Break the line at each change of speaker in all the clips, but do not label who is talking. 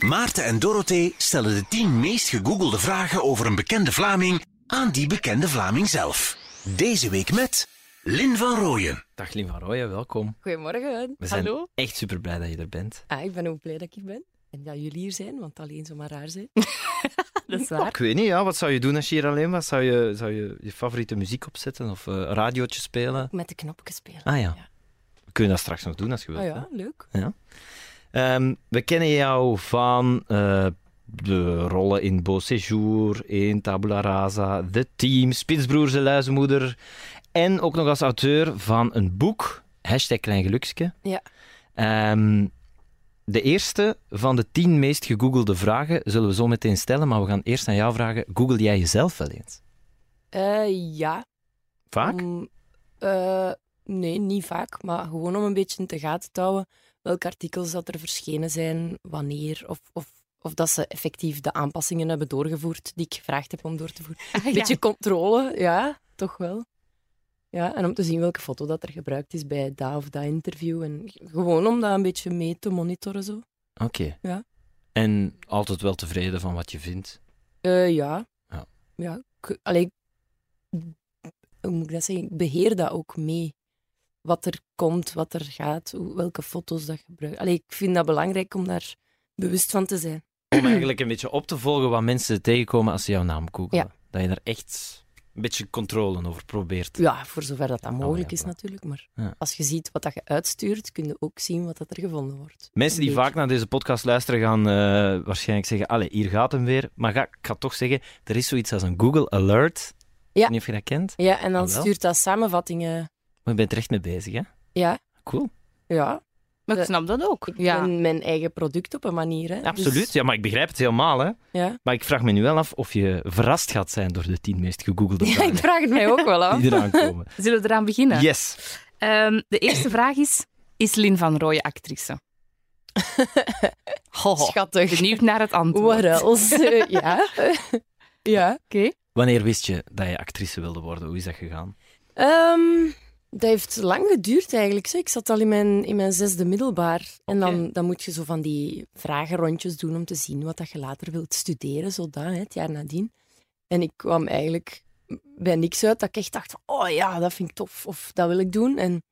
Maarten en Dorothee stellen de 10 meest gegoogelde vragen over een bekende Vlaming aan die bekende Vlaming zelf. Deze week met Lin van Rooyen.
Dag Lien van Rooyen, welkom.
Goedemorgen.
We zijn
Hallo.
echt super blij dat je er bent.
Ah, ik ben ook blij dat ik hier ben. En dat jullie hier zijn, want alleen zou maar raar zijn. dat is
Ik
waar.
weet niet, ja, wat zou je doen als je hier alleen was? Zou je zou je, je favoriete muziek opzetten of eh radiootje spelen?
Met de knopjes spelen.
Ah ja.
Ja.
We kunnen dat straks nog doen als je wilt.
Ah
hè?
ja, leuk.
Ehm, we kennen jou van eh, de rollen in Beau Séjour, in Tabula Rasa, The Team, Spitsbroers en Luizenmoeder. En ook nog als auteur van een boek, hashtag Klein Gelukske.
Ja.
Ehm, de eerste van de tien meest gegoogelde vragen zullen we zo meteen stellen, maar we gaan eerst aan jou vragen, google jij jezelf wel eens?
Eh, ja.
Vaak?
om, eh, nee, niet vaak. Maar gewoon om een beetje in de gaten te houden welke artikels dat er verschenen zijn, wanneer. Of, of, of dat ze effectief de aanpassingen hebben doorgevoerd die ik gevraagd heb om door te voeren. Een beetje controle, ja, toch wel. Ja, en om te zien welke foto dat er gebruikt is bij dat of dat interview. En g- gewoon om dat een beetje mee te monitoren zo.
Oké.
Ja.
En altijd wel tevreden van wat je vindt?
Eh, ja.
Ja.
ja ik, allee, ik- hoe moet ik dat zeggen? Ik beheer dat ook mee. Wat er komt, wat er gaat, hoe- welke foto's dat gebruikt. Allee, ik vind dat belangrijk om daar bewust van te zijn.
om eigenlijk een beetje op te volgen wat mensen tegenkomen als ze jouw naam googelen.
Ja.
Dat je daar echt een beetje controle over probeert.
Ja, voor zover dat dat mogelijk
ja,
is
voilà.
natuurlijk. Maar
Ja.
als je ziet wat dat je uitstuurt, kun je ook zien wat dat er gevonden wordt.
Mensen die
Een
vaak naar deze podcast luisteren gaan eh, waarschijnlijk zeggen, allee, hier gaat hem weer. Maar ga, ik ga toch zeggen, er is zoiets als een Google Alert. Ik weet niet of je dat kent.
beetje. Ja, en dan
Ah, wel.
stuurt dat samenvattingen.
Maar je bent er echt mee bezig, hè?
Ja,
Cool.
ja.
Maar ik
De-
snap dat ook.
ja.
Ja.
mijn eigen product op een manier. Hè.
Absoluut.
Dus,
Ja, maar ik begrijp het helemaal, hè?
ja.
Maar ik vraag me nu wel af of je verrast gaat zijn door de tien meest gegoogelde
ja, ik
vragen
vraag het mij ook wel af.
die eraan komen.
Zullen we eraan beginnen?
Yes.
Ehm, de eerste vraag is, is Lin van Rooyen actrice?
Schattig.
Benieuwd naar het antwoord.
What else? Eh, ja. ja.
Oké.
Wanneer wist je dat je actrice wilde worden? Hoe is dat gegaan?
Ehm, dat heeft lang geduurd eigenlijk. zeg. Ik zat al in mijn, in mijn zesde middelbaar. En dan, dan moet je zo van die vragenrondjes doen om te zien wat dat je later wilt studeren, zo dat, hè, het jaar nadien. En ik kwam eigenlijk bij niks uit dat ik echt dacht, van, oh ja, dat vind ik tof, of dat wil ik doen. En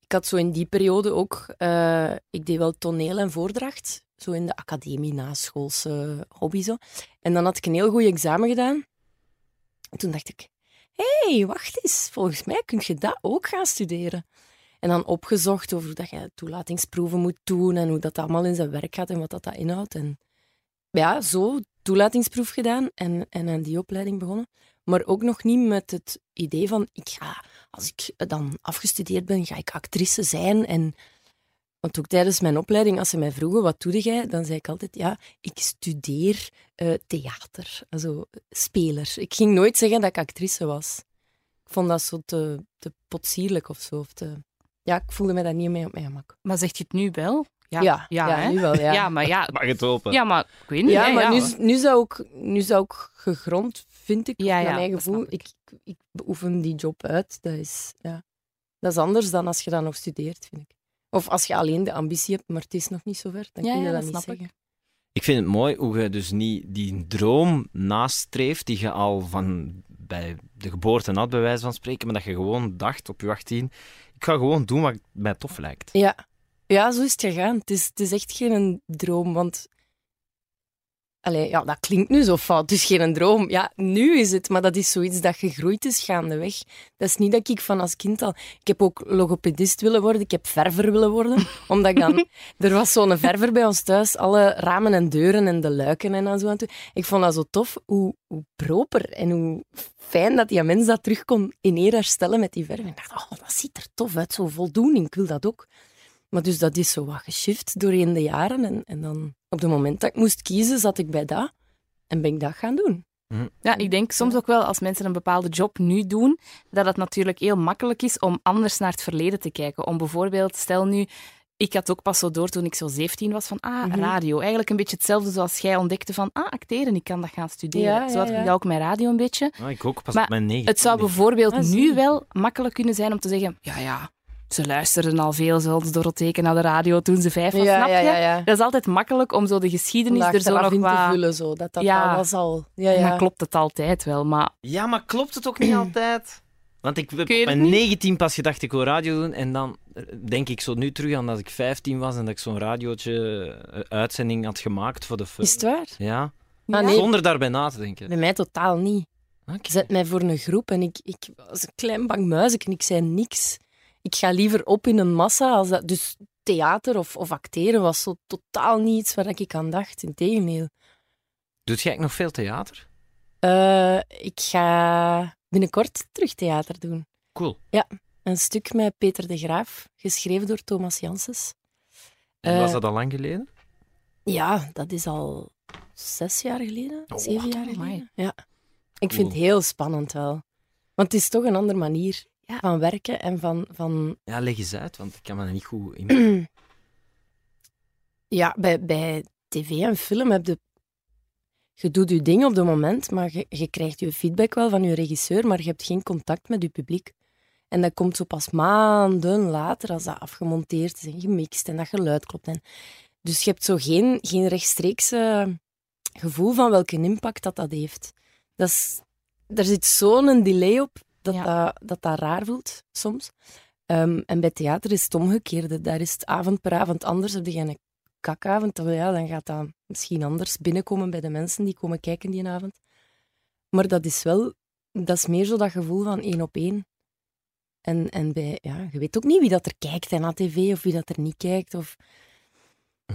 ik had zo in die periode ook, eh, ik deed wel toneel en voordracht, zo in de academie, naschoolse hobby zo. En dan had ik een heel goed examen gedaan. En toen dacht ik, hé, hey, wacht eens, volgens mij kun je dat ook gaan studeren. En dan opgezocht over hoe dat je toelatingsproeven moet doen en hoe dat allemaal in zijn werk gaat en wat dat, dat inhoudt. En ja, zo toelatingsproef gedaan en, en aan die opleiding begonnen. Maar ook nog niet met het idee van, ik ga, als ik dan afgestudeerd ben, ga ik actrice zijn. En, want ook tijdens mijn opleiding, als ze mij vroegen, wat doe jij? Dan zei ik altijd, ja, ik studeer eh, theater, also speler. Ik ging nooit zeggen dat ik actrice was. Ik vond dat zo te, te potsierlijk of zo. Of te... Ja, ik voelde me daar niet mee op mijn gemak.
Maar zegt je het nu wel? Ja.
ja,
ja, hè?
nu wel,
Ja,
ja.
maar ja.
Mag het open?
Ja, maar ik weet niet.
ja,
hè,
maar nu, is- nu, zou ik, nu zou ik gegrond, vind ik,
Ja,
op
ja,
mijn eigen
dat
gevoel.
snap
Ik, ik beoefen die job uit. Dat is, ja. dat is anders dan als je dan nog studeert, vind ik. Of als je alleen de ambitie hebt, maar het is nog niet zover, dan
Ja,
kun je
ja,
dat,
dat
niet
snap ik.
zeggen.
Ik vind het mooi hoe je dus niet die droom nastreeft die je al van bij de geboorte had, bij wijze van spreken, maar dat je gewoon dacht op je 18, ik ga gewoon doen wat mij tof lijkt.
Ja. ja, zo is het gegaan. Het is, het is echt geen droom, want... Allee, ja, dat klinkt nu zo fout, dus geen droom. Ja, nu is het, maar dat is zoiets dat gegroeid is gaandeweg. Dat is niet dat ik van als kind al... Ik heb ook logopedist willen worden, ik heb verver willen worden, omdat ik dan... Er was zo'n verver bij ons thuis, alle ramen en deuren en de luiken en dan zo aan toe. Ik vond dat zo tof, hoe, hoe proper en hoe fijn dat die mens dat terug kon in eer herstellen met die verf. En ik dacht, oh, dat ziet er tof uit, zo voldoening, ik wil dat ook. Maar dus dat is zo wat geshift doorheen de jaren. En, en dan op het moment dat ik moest kiezen, zat ik bij dat. En ben ik dat gaan doen.
Ja, ik denk soms ook wel als mensen een bepaalde job nu doen, dat het natuurlijk heel makkelijk is om anders naar het verleden te kijken. Om bijvoorbeeld, stel nu, ik had ook pas zo door toen ik zo 17 was van, ah,
Mhm.
radio. Eigenlijk een beetje hetzelfde zoals jij ontdekte van, ah, acteren, ik kan dat gaan studeren.
Ja,
zo
ja,
had ik
ja.
dat ook met radio een beetje.
Ah, ik ook pas
Maar
op mijn 19.
Het zou bijvoorbeeld
Ah, zie.
nu wel makkelijk kunnen zijn om te zeggen, ja, ja, Ze luisterden al veel, zoals Dorotheke, naar de radio toen ze vijf was,
ja,
snap je?
ja, ja, ja.
Dat is altijd makkelijk om zo de geschiedenis
Om
er zo
achteraf
nog
in te
wat...
vullen, zo, dat dat
Ja.
alles al... Ja, ja.
Maar klopt het altijd wel, maar...
Ja, maar klopt het ook niet altijd? Want ik heb
Ik weet
op
het
mijn
niet.
19 pas gedacht ik wil radio doen. En dan eh, denk ik zo nu terug aan dat ik 15 was en dat ik zo'n radiootje eh, uitzending had gemaakt voor de fun.
Is het waar?
Ja,
Ah, nee.
zonder daarbij na te denken.
Bij mij totaal niet.
Oké.
Zet mij voor een groep en ik, ik was een klein bang muizik en ik zei niks. Ik ga liever op in een massa als dat... Dus theater of, of acteren was zo totaal niet iets waar ik aan dacht. Integendeel.
Doet jij eigenlijk nog veel theater?
Eh ik ga binnenkort terug theater doen.
Cool.
Een stuk met Peter de Graaf, geschreven door Thomas Janssens.
En
Eh,
was dat al lang geleden?
Ja, dat is al zes jaar geleden,
Oh,
zeven jaar
amai.
geleden. Ja. Ik
Cool.
vind het heel spannend wel. Want het is toch een andere manier
Ja.
van werken en van, van
Ja, leg eens uit, want ik kan me er niet goed in.
ja, bij, bij tv en film heb je... Je doet je ding op dat moment, maar je, je krijgt je feedback wel van je regisseur, maar je hebt geen contact met je publiek. En dat komt zo pas maanden later, als dat afgemonteerd is en gemixt en dat geluid klopt. En... Dus je hebt zo geen, geen rechtstreekse gevoel van welke impact dat dat heeft. Dat is, daar zit zo'n delay op dat,
Ja.
dat, dat dat raar voelt soms. Ehm, en bij theater is het omgekeerde. Daar is het avond per avond anders. Heb je een kakavond, dan, ja, dan gaat dat misschien anders binnenkomen bij de mensen die komen kijken die avond. Maar dat is wel, dat is meer zo dat gevoel van één op één. En, en bij, ja, je weet ook niet wie dat er kijkt hè, naar tv of wie dat er niet kijkt. Of...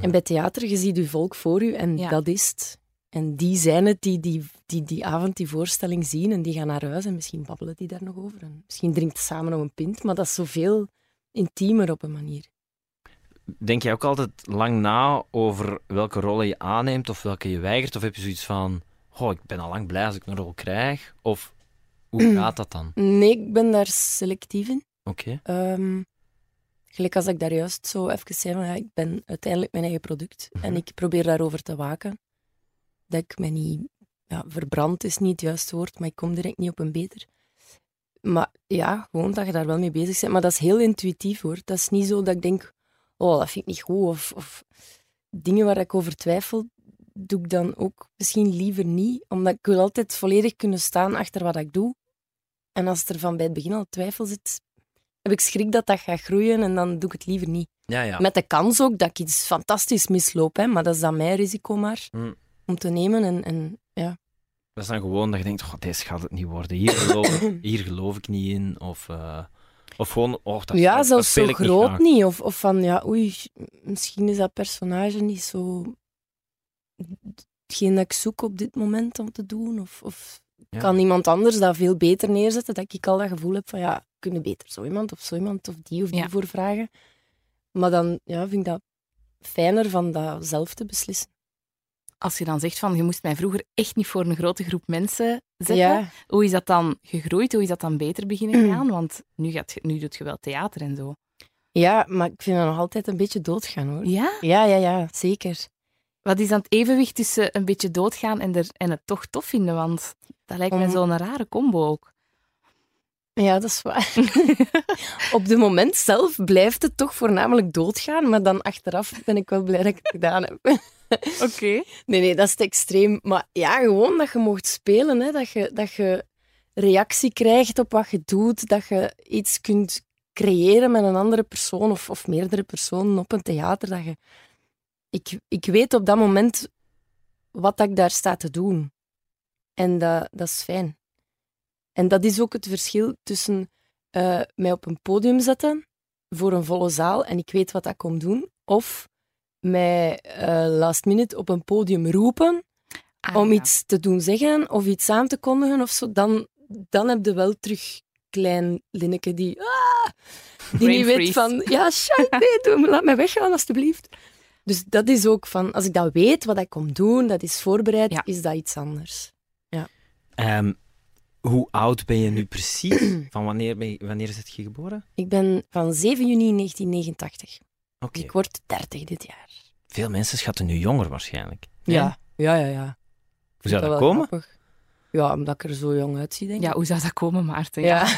En bij theater, je ziet je volk voor je en
Ja.
dat is het. En die zijn het die die, die die avond die voorstelling zien en die gaan naar huis en misschien babbelen die daar nog over. En misschien drinkt ze samen nog een pint, maar dat is zoveel intiemer op een manier.
Denk jij ook altijd lang na over welke rollen je aanneemt of welke je weigert? Of heb je zoiets van, oh, ik ben al lang blij als ik een rol krijg? Of hoe gaat dat dan?
Nee, ik ben daar selectief in.
Oké.
Ehm, gelijk als ik daar juist zo even zei, van, ja, ik ben uiteindelijk mijn eigen product en ik probeer daarover te waken. Dat ik mij niet... Ja, verbrand is niet het juiste woord, maar ik kom direct niet op een beter. Maar ja, gewoon dat je daar wel mee bezig bent. Maar dat is heel intuïtief hoor. Dat is niet zo dat ik denk, oh, dat vind ik niet goed. Of, of dingen waar ik over twijfel, doe ik dan ook misschien liever niet. Omdat ik wil altijd volledig kunnen staan achter wat ik doe. En als er van bij het begin al twijfel zit, heb ik schrik dat dat gaat groeien en dan doe ik het liever niet.
Ja, ja.
Met de kans ook dat ik iets fantastisch misloop, hè, maar dat is dan mijn risico maar
Mm.
om te nemen. En, en ja.
Dat is dan gewoon dat je denkt, oh, deze gaat het niet worden. Hier geloof, hier geloof ik niet in. Of, eh, of gewoon, oh, dat,
ja,
dat
zelfs
speel
zo
ik niet
groot
graag.
niet, Of, of van, ja, oei, misschien is dat personage niet zo... Hetgeen dat ik zoek op dit moment om te doen. Of, of
Ja.
kan iemand anders dat veel beter neerzetten? Dat ik al dat gevoel heb van, ja, kunnen beter zo iemand of zo iemand of die of die
Ja.
voor vragen. Maar dan ja, vind ik dat fijner van dat zelf te beslissen.
Als je dan zegt van, je moest mij vroeger echt niet voor een grote groep mensen zetten, hoe is dat dan gegroeid? Hoe is dat dan beter beginnen
Mm.
gaan? Want nu, gaat, je- nu doet je wel theater en zo.
Ja, maar ik vind dat nog altijd een beetje doodgaan hoor.
Ja?
Ja, ja, ja, zeker.
Wat is dan het evenwicht tussen een beetje doodgaan en, er, en het toch tof vinden? Want dat lijkt mij
Om-
zo'n rare combo ook.
Ja, dat is waar. Op het moment zelf blijft het toch voornamelijk doodgaan, maar dan achteraf ben ik wel blij dat ik het gedaan heb.
Oké.
Nee, nee, dat is te extreem. Maar ja, gewoon dat je mocht spelen, hè. Dat, je, dat je reactie krijgt op wat je doet, dat je iets kunt creëren met een andere persoon of, of meerdere personen op een theater. Dat je... ik, ik weet op dat moment wat dat ik daar sta te doen. En dat, dat is fijn. En dat is ook het verschil tussen eh, mij op een podium zetten voor een volle zaal en ik weet wat dat kom doen, of mij eh, last minute op een podium roepen
Ah,
om iets te doen zeggen of iets aan te kondigen of zo, dan, dan heb je wel terug klein linneke die, ah, die
Brain
niet weet
freeze.
van, ja, shit, nee, doe, me- laat mij weggaan alstublieft. Dus dat is ook van, als ik dat weet, wat ik kom doen, dat is voorbereid,
Ja.
is dat iets anders.
Ehm, hoe oud ben je nu precies? Van wanneer, ben je, wanneer is het je geboren?
Ik ben van 7 juni 1989.
Oké.
Dus ik word 30 dit jaar.
Veel mensen schatten nu jonger waarschijnlijk. Nee?
ja, ja, ja.
Hoe zou dat komen?
Ja, omdat ik er zo jong uitzie, denk ik.
Ja, hoe zou dat komen, Maarten?
Ja.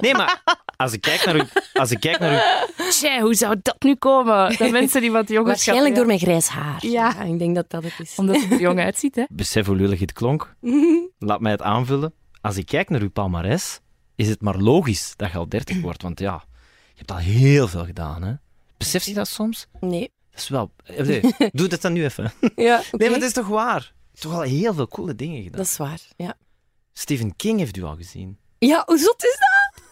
Nee, maar als ik kijk naar uw... Als ik kijk naar uw
Tjie, hoe zou dat nu komen? Dat mensen die wat jonger
Waarschijnlijk door
schatten,
mijn grijs haar.
Ja.
Ah, ik denk dat dat het is.
ja. Omdat het er jong uitziet, hè?
besef hoe lullig het klonk. Laat mij het aanvullen. Als ik kijk naar uw palmares, is het maar logisch dat je al 30 wordt. Want ja, je hebt al heel veel gedaan, hè. Beseft je dat soms?
Nee.
Dat is wel... eh, nee, Doe dat dan nu even.
Ja,
Nee, maar het is toch waar? Toch al heel veel coole dingen gedaan.
Dat is waar, ja.
Stephen King heeft u al gezien.
Ja, hoe zot is dat?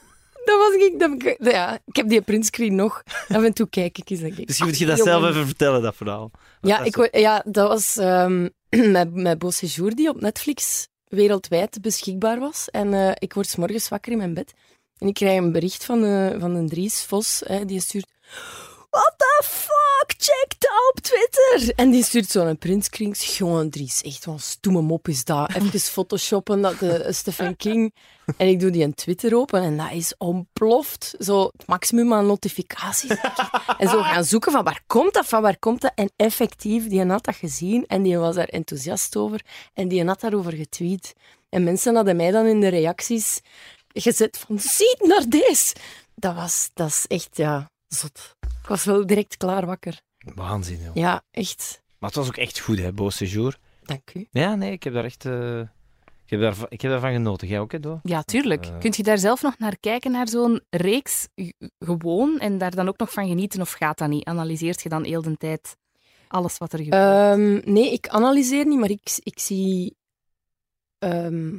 Dat was ik... dat- ja, ik heb die printscreen nog. Af en toe kijk ik eens. denk ik,
Dus je moet je
ah,
dat
jongen.
zelf even vertellen, dat verhaal.
Ja,
dat
ik, wou- ja, dat was ehm mijn, mijn Beau Séjour die op Netflix wereldwijd beschikbaar was. En eh, ik word 's morgens wakker in mijn bed. En ik krijg een bericht van, eh, van een Dries Vos, hè, die stuurt... What the fuck? Check dat op Twitter! En die stuurt zo'n printscreen. Jongen, Dries, echt wat een stoeme mop is dat. Even photoshoppen, dat de Stephen King... En ik doe die een Twitter open en dat is ontploft. Zo het maximum aan notificaties. En zo gaan zoeken van waar komt dat, van waar komt dat. En effectief, die had dat gezien en die was daar enthousiast over. En die had daarover getweet. En mensen hadden mij dan in de reacties gezet van, ziet naar deze. Dat was, dat is echt, ja, zot. Ik was wel direct klaar wakker.
Waanzin, joh.
Ja, echt.
Maar het was ook echt goed, hè, Beau Séjour.
Dank u.
Ja, nee, ik heb daar echt... eh, Ik, heb daarvan, ik heb daarvan genoten. Jij ook, hè, Doe?
Ja, tuurlijk.
Eh.
Kunt je daar zelf nog naar kijken, naar zo'n reeks g- gewoon, en daar dan ook nog van genieten, of gaat dat niet? Analyseert je dan heel de tijd alles wat er gebeurt?
Ehm, nee, ik analyseer niet, maar ik, ik zie ehm,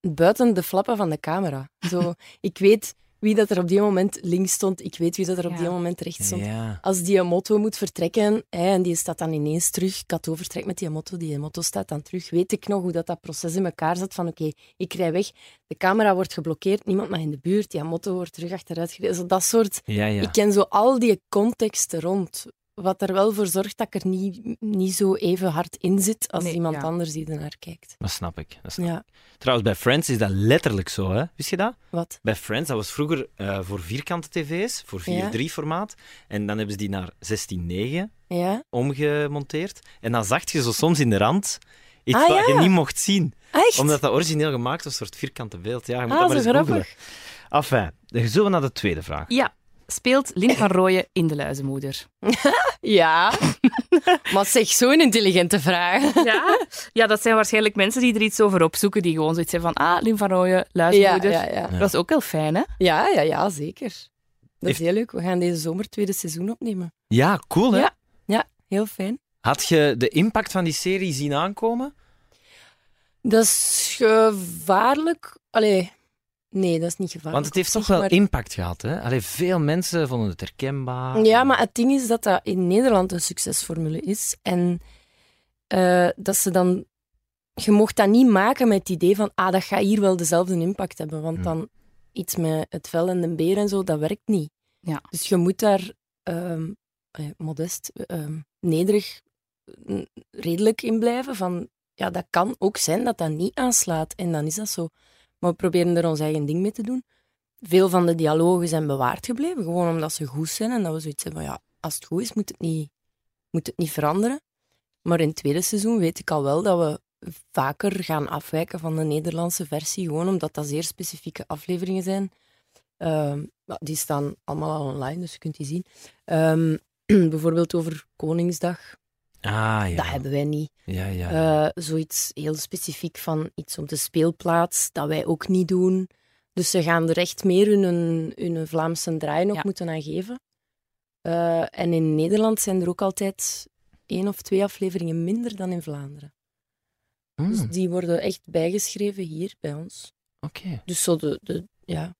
buiten de flappen van de camera. Zo, ik weet wie dat er op die moment links stond. Ik weet wie dat er op
Ja.
die moment rechts stond.
Ja.
Als die motto moet vertrekken hè, en die staat dan ineens terug, Kato vertrekt met die motto, die motto staat dan terug, weet ik nog hoe dat, dat proces in elkaar zat van oké, ik rij weg, de camera wordt geblokkeerd, niemand mag in de buurt, die motto wordt terug achteruit gereden. Zo Dat soort
Ja, ja.
ik ken zo al die contexten rond. Wat er wel voor zorgt dat ik er niet, niet zo even hard in zit als
Nee,
iemand
ja.
anders die ernaar kijkt.
Dat snap ik. Dat snap ik.
Ja,
Trouwens, bij Friends is dat letterlijk zo, hè. Wist je dat?
wat?
Bij Friends, dat was vroeger eh, voor vierkante tv's, voor 4-3
Ja.
formaat. En dan hebben ze die naar 16-9
Ja?
omgemonteerd. En dan zag je zo soms in de rand iets
Ah,
wat je
ja.
niet mocht zien.
Echt?
Omdat dat origineel gemaakt was voor het vierkante beeld. Ja, je moet
Ah,
dat maar
zo
eens googelen.
grappig.
Enfin, dan zullen we naar de tweede vraag.
Ja, speelt Lin van Rooyen in De Luizenmoeder?
Ja. maar zeg, zo'n intelligente vraag.
Ja? ja, dat zijn waarschijnlijk mensen die er iets over opzoeken, die gewoon zoiets zijn van, ah, Lin van Rooyen,
Ja,
Luizenmoeder.
ja, ja.
Dat is ook heel fijn, hè?
Ja, ja, ja, zeker. Dat
Heeft-
is heel leuk. We gaan deze zomer het tweede seizoen opnemen.
Ja, cool hè?
Ja. Ja, heel fijn.
Had je de impact van die serie zien aankomen?
Ah, Dat is gevaarlijk. Allee, nee, dat is niet gevaarlijk.
Want het heeft
op
toch
zich,
wel
maar-
impact gehad hè? Allee, veel mensen vonden het herkenbaar.
Ja, maar het ding is dat dat in Nederland een succesformule is. En eh, dat ze dan... Je mocht dat niet maken met het idee van, ah, dat gaat hier wel dezelfde impact hebben. Want
Hmm.
dan iets met het vel en de beer en zo, dat werkt niet.
Ja.
Dus je moet daar ehm, eh, modest, ehm, nederig, eh, redelijk in blijven. Van, ja, dat kan ook zijn dat dat niet aanslaat. En dan is dat zo. Maar we proberen er ons eigen ding mee te doen. Veel van de dialogen zijn bewaard gebleven, gewoon omdat ze goed zijn. En dat we zoiets hebben van, ja, als het goed is, moet het niet, moet het niet veranderen. Maar in het tweede seizoen weet ik al wel dat we vaker gaan afwijken van de Nederlandse versie, gewoon omdat dat zeer specifieke afleveringen zijn. Ehm, ja, die staan allemaal al online, dus je kunt die zien. Ehm, bijvoorbeeld over Koningsdag,
Ah ja.
dat hebben wij niet.
Ja, ja.
Eh, zoiets heel specifiek van iets op de speelplaats, dat wij ook niet doen. Dus ze gaan er echt meer hun, hun Vlaamse draai nog
Ja.
moeten aan geven. Eh, en in Nederland zijn er ook altijd één of twee afleveringen minder dan in Vlaanderen.
Hmm,
Dus die worden echt bijgeschreven hier bij ons.
Oké.
Dus zo de, de ja.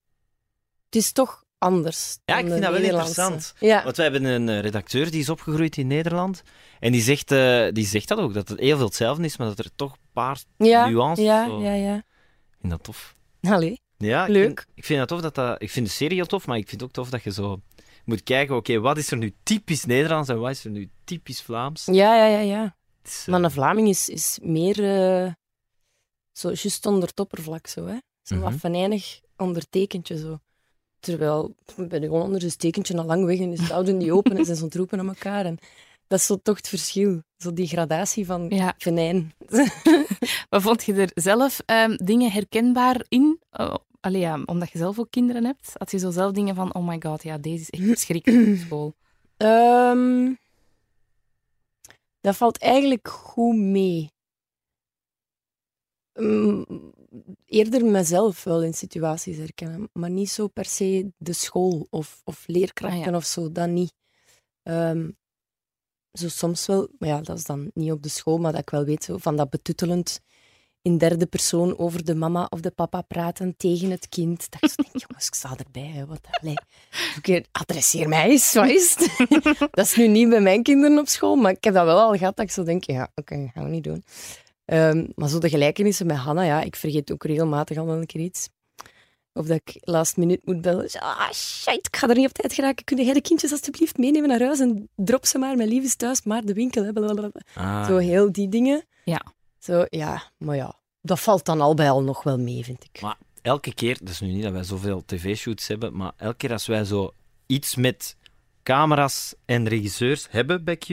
Het is toch anders.
Ja,
dan
ik
de
vind dat wel
Nederlandse.
interessant.
Ja.
Want wij hebben een eh, redacteur die is opgegroeid in Nederland. En die zegt, eh, die zegt dat ook, dat het heel veel hetzelfde is, maar dat er toch een paar...
ja,
nuances,
Ja,
zo.
ja, ja.
Ik vind dat tof.
Allee.
Ja, ik
Leuk.
vind- Ik vind, dat tof dat dat... Ik vind de serie heel tof, maar ik vind het ook tof dat je zo moet kijken, oké, wat is er nu typisch Nederlands en wat is er nu typisch Vlaams?
Ja, ja, ja, ja.
Het is, eh,
Maar een Vlaming is, is meer eh, zo juist onder het oppervlak, zo, hè. Zo
Mhm.
wat venijnig onder het tekentje, zo. Terwijl, ik ben gewoon onder zijn tekentje al lang weg en is houden niet open en zijn zo'n troepen aan elkaar. En dat is zo toch het verschil. Zo die gradatie van
Ja.
venijn.
Maar vond je er zelf ehm, dingen herkenbaar in? Eh, allee, Allee, ja, omdat je zelf ook kinderen hebt, had je zo zelf dingen van, oh my god, ja, deze is echt verschrikkelijk op school.
Ehm, dat valt eigenlijk goed mee. Mm, eerder mezelf wel in situaties herkennen, maar niet zo per se de school of, of leerkrachten
Ah, ja.
of zo, dat niet. Ehm, zo soms wel, maar ja, dat is dan niet op de school, maar dat ik wel weet zo, van dat betuttelend in derde persoon over de mama of de papa praten tegen het kind. Dat ik zo denk, jongens, ik sta erbij, hè, wat allee. Een keer, adresseer mij eens, wat is het? dat is nu niet bij mijn kinderen op school, maar ik heb dat wel al gehad, dat ik zo denk, ja, oké, gaan we niet doen. Ehm, maar zo de gelijkenissen met Hanna, ja, ik vergeet ook regelmatig al wel een keer iets. Of dat ik last minute moet bellen. Zo, Ah, shit, ik ga er niet op tijd geraken. Kun jij de kindjes alsjeblieft meenemen naar huis en drop ze maar, mijn lief is thuis, maar de winkel, hè, blablabla.
Ah,
Zo heel die dingen.
Ja.
Zo, ja, maar ja, dat valt dan al bij al nog wel mee, vind ik.
Maar elke keer, dat is nu niet dat wij zoveel tv-shoots hebben, maar elke keer als wij zo iets met camera's en regisseurs hebben bij Q,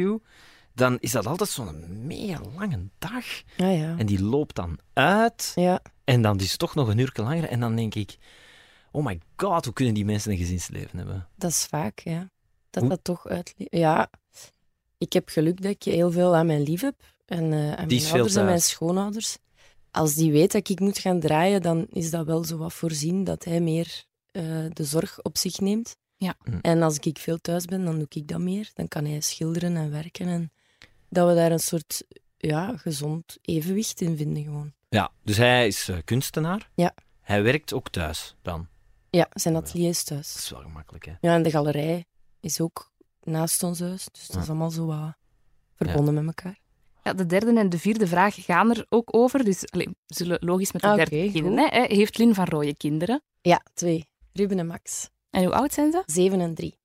dan is dat altijd zo'n mega lange dag.
Ja, Ah, ja.
En die loopt dan uit,
Ja,
en dan is het toch nog een uur langer. En dan denk ik, oh my god, hoe kunnen die mensen een gezinsleven hebben?
dat is vaak, ja. Dat
Hoe-
dat toch uitleeft. Ja, ik heb geluk dat ik heel veel aan mijn lief heb. En eh, aan
is
mijn
veel
ouders en
thuis.
mijn schoonouders. Als die weet dat ik moet gaan draaien, dan is dat wel zo wat voorzien dat hij meer eh, de zorg op zich neemt.
Ja.
Mm.
En als ik veel thuis ben, dan doe ik dat meer. Dan kan hij schilderen en werken. En dat we daar een soort ja, gezond evenwicht in vinden gewoon.
Ja, dus hij is eh, kunstenaar.
Ja.
Hij werkt ook thuis dan.
Ja, zijn atelier is thuis.
Dat is wel gemakkelijk, hè?
Ja, en de galerij is ook naast ons huis. Dus dat is
Ja.
allemaal zo wat verbonden met elkaar.
Ja, de derde en de vierde vraag gaan er ook over. Dus allee, we zullen logisch met de
Ah,
derde
oké,
beginnen.
goed.
Hè? Eh, Heeft Lin van Rooyen kinderen?
Ja, twee. Ruben en Max.
En hoe oud zijn ze?
Zeven en drie.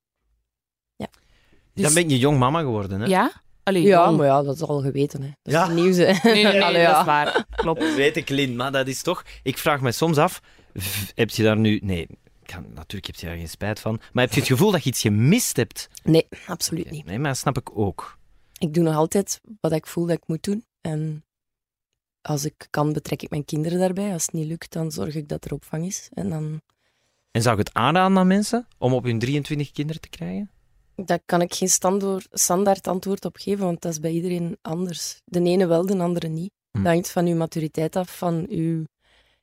Dus-
Dan ben je jong mama geworden, hè?
Ja? Allee,
Ja,
jong.
maar ja, dat is al geweten. Hè. Dat
Ja.
is het nieuws. Hè.
Nee, nee, nee,
Allee,
dat
ja.
is waar. Klopt.
Dat weet ik, Lin, maar dat is toch... Ik vraag me soms af, v- heb je daar nu... Nee, ik kan- natuurlijk heb je daar geen spijt van. Maar heb je het gevoel dat je iets gemist hebt?
Nee, absoluut niet.
Nee, maar dat snap ik ook.
Ik doe nog altijd wat ik voel dat ik moet doen. En als ik kan, betrek ik mijn kinderen daarbij. Als het niet lukt, dan zorg ik dat er opvang is. En dan
En zou ik het aanraden aan mensen om op hun 23 kinderen te krijgen?
Daar kan ik geen standoor- standaard antwoord op geven, want dat is bij iedereen anders. De ene wel, de andere niet.
Hm.
Dat hangt van uw maturiteit af, van uw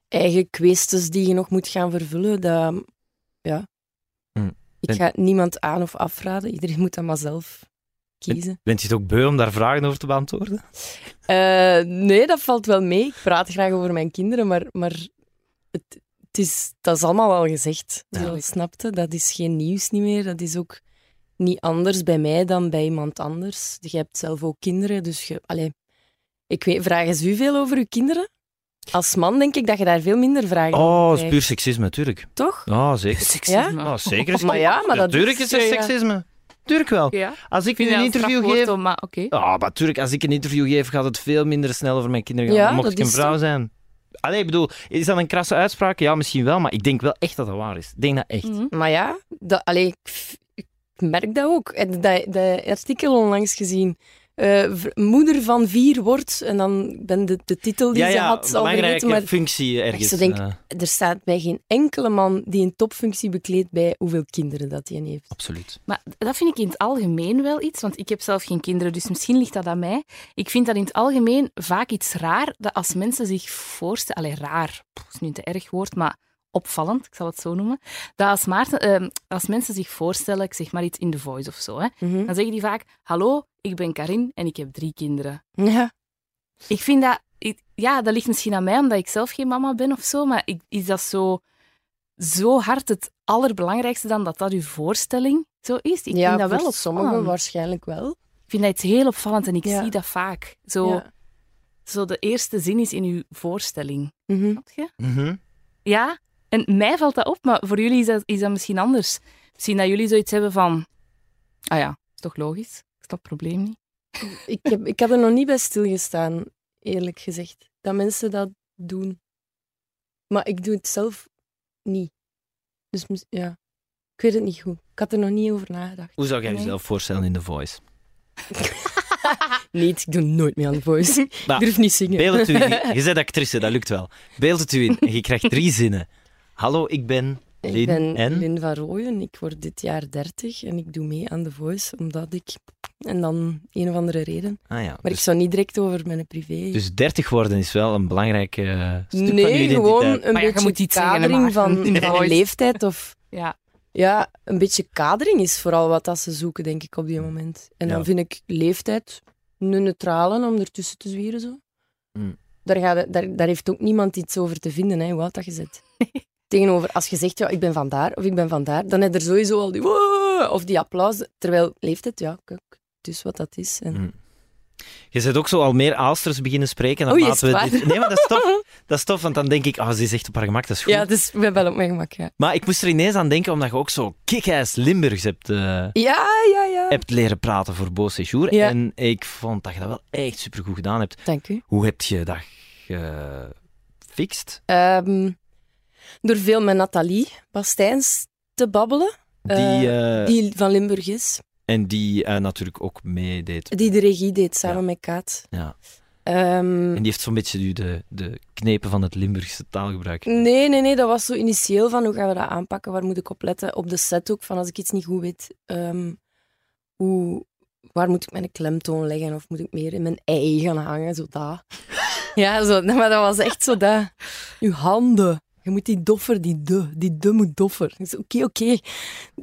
eigen kwesties die je nog moet gaan vervullen. Dat, ja.
Hm.
Ik
En-
ga niemand aan of afraden. Iedereen moet dat maar zelf kiezen.
Bent je het ook beu om daar vragen over te beantwoorden?
Eh, nee, dat valt wel mee. Ik praat graag over mijn kinderen, maar, maar het, het is, dat is allemaal al gezegd.
Ja.
Zo, snapte? Dat is geen nieuws niet meer. Dat is ook niet anders bij mij dan bij iemand anders. Je hebt zelf ook kinderen, dus je... Allee, ik weet, vragen eens u veel over uw kinderen? Als man denk ik dat je daar veel minder vragen over
Oh, dat is
krijgt.
puur seksisme, natuurlijk.
toch?
Oh, zeker.
Ja?
Oh, zeker is
Maar ja, maar dat
Natuurlijk
is- eh,
is er
ja, ja.
seksisme. Tuurlijk wel.
Ja.
Als ik
Ik vind
nu een
dat
interview
strafwoord,
geef...
hoor, maar oké.
Oh,
Ah, maar tuurlijk, als ik een interview geef, gaat het veel minder snel over mijn kinderen gaan.
Ja,
dan mocht
dat
ik een
is
vrouw zijn. Allee, ik bedoel, is dat een krasse uitspraak? Ja, misschien wel, maar ik denk wel echt dat dat waar is. Ik denk dat echt.
Mhm.
Maar ja, dat, allee, ik, f- ik merk dat ook. En Dat, dat artikel onlangs gezien. Eh, v- moeder van vier wordt, en dan ben de, de titel die
ja,
ze
ja,
had al
belangrijke
vergeten, maar
functie ergens.
zo denk-
eh,
er staat bij geen enkele man die een topfunctie bekleedt bij hoeveel kinderen dat hij heeft.
absoluut.
Maar dat vind ik in het algemeen wel iets, want ik heb zelf geen kinderen, dus misschien ligt dat aan mij. Ik vind dat in het algemeen vaak iets raar dat als mensen zich voorstellen. Allee, raar pff, is nu een te erg woord, maar opvallend, ik zal het zo noemen. Dat als, Maarten, ehm, als mensen zich voorstellen, ik zeg maar iets in The Voice of zo, hè, dan zeggen die vaak: Hallo, ik ben Karin en ik heb drie kinderen.
Ja.
Ik vind dat, ik- ja, dat ligt misschien aan mij omdat ik zelf geen mama ben of zo, maar ik, is dat zo, zo hard het allerbelangrijkste dan dat dat uw voorstelling zo is? Ik
ja,
vind dat
voor
wel opvallend.
sommigen waarschijnlijk wel.
Ik vind dat iets heel opvallend en ik
Ja.
zie dat vaak. Zo,
Ja.
zo de eerste zin is in uw voorstelling.
Mhm.
Snap je?
Mhm.
Ja, en mij valt dat op, maar voor jullie is dat, is dat misschien anders. Misschien dat jullie zoiets hebben van... Ah ja, is toch logisch? Ik snap het probleem niet.
ik, heb, ik had er nog niet bij stilgestaan, eerlijk gezegd. Dat mensen dat doen. Maar ik doe het zelf niet. Dus mis- ja, ik weet het niet goed. Ik had er nog niet over nagedacht.
Hoe zou jij
Nee.
jezelf voorstellen in The Voice?
Niet, ik doe nooit meer aan de voice.
Maar
ik durf niet zingen.
Beeld het u in. Je bent actrice, dat lukt wel. Beeld het u in en je krijgt drie zinnen. Hallo, ik ben
Ik
Lin
ben
en...
Lin van Rooyen, ik word dit jaar 30 en ik doe mee aan The Voice, omdat ik... En dan een of andere reden.
Ah ja,
Maar
dus,
ik zou niet direct over mijn privé...
dus 30 worden is wel een belangrijk eh, stuk van uw
nee,
identiteit.
gewoon een
Maar ja, je
beetje
moet iets zeggen, hè,
kadering
Maarten.
van,
Ja.
van een leeftijd. Of,
Ja.
ja, een beetje kadering is vooral wat dat ze zoeken, denk ik, op die moment. En
Ja.
dan vind ik leeftijd een neutrale om ertussen te zwieren. Zo.
Hmm.
Daar, gaat, het- daar, daar heeft ook niemand iets over te vinden, hè, hoe oud dat je zit. Tegenover, als je zegt, ja, ik ben vandaar of ik ben vandaar, dan heb je er sowieso al die "Wow!" of die applaus. Terwijl leeftijd, ja, kijk, het is wat dat is. En...
Hmm. Je zit ook zo al meer Aalsters beginnen spreken.
Oei,
naarmate
is het
we
waar?
dit... Nee, maar dat is tof. Dat is tof, want dan denk ik, oh, ze is echt op haar gemak, dat is goed.
Ja, dus ik ben wel op mijn gemak, ja.
Maar ik moest er ineens aan denken, omdat je ook zo kick-ass Limburgs hebt, eh,
Ja, ja, ja.
hebt leren praten voor Beau Séjour.
Ja.
En ik vond dat je dat wel echt supergoed gedaan hebt.
Dank u.
Hoe heb je dat gefixt?
Ehm, door veel met Nathalie Bastijns te babbelen,
Die,
Eh,
eh,
die van Limburg is,
En die eh, natuurlijk ook meedeed.
die de regie deed samen
Ja.
met Kaat.
Ja.
Ehm,
En die heeft zo'n beetje nu de, de knepen van het Limburgse taalgebruik.
nee, nee, nee, dat was zo initieel van hoe gaan we dat aanpakken, waar moet ik op letten? Op de set ook, van als ik iets niet goed weet, ehm, hoe, waar moet ik mijn klemtoon leggen of moet ik meer in mijn ei gaan hangen, zo dat. ja, zo, nee, maar dat was echt zo dat. Uw handen. Je moet die doffer, die de, die de moet doffer. Ik zei, Oké, oké.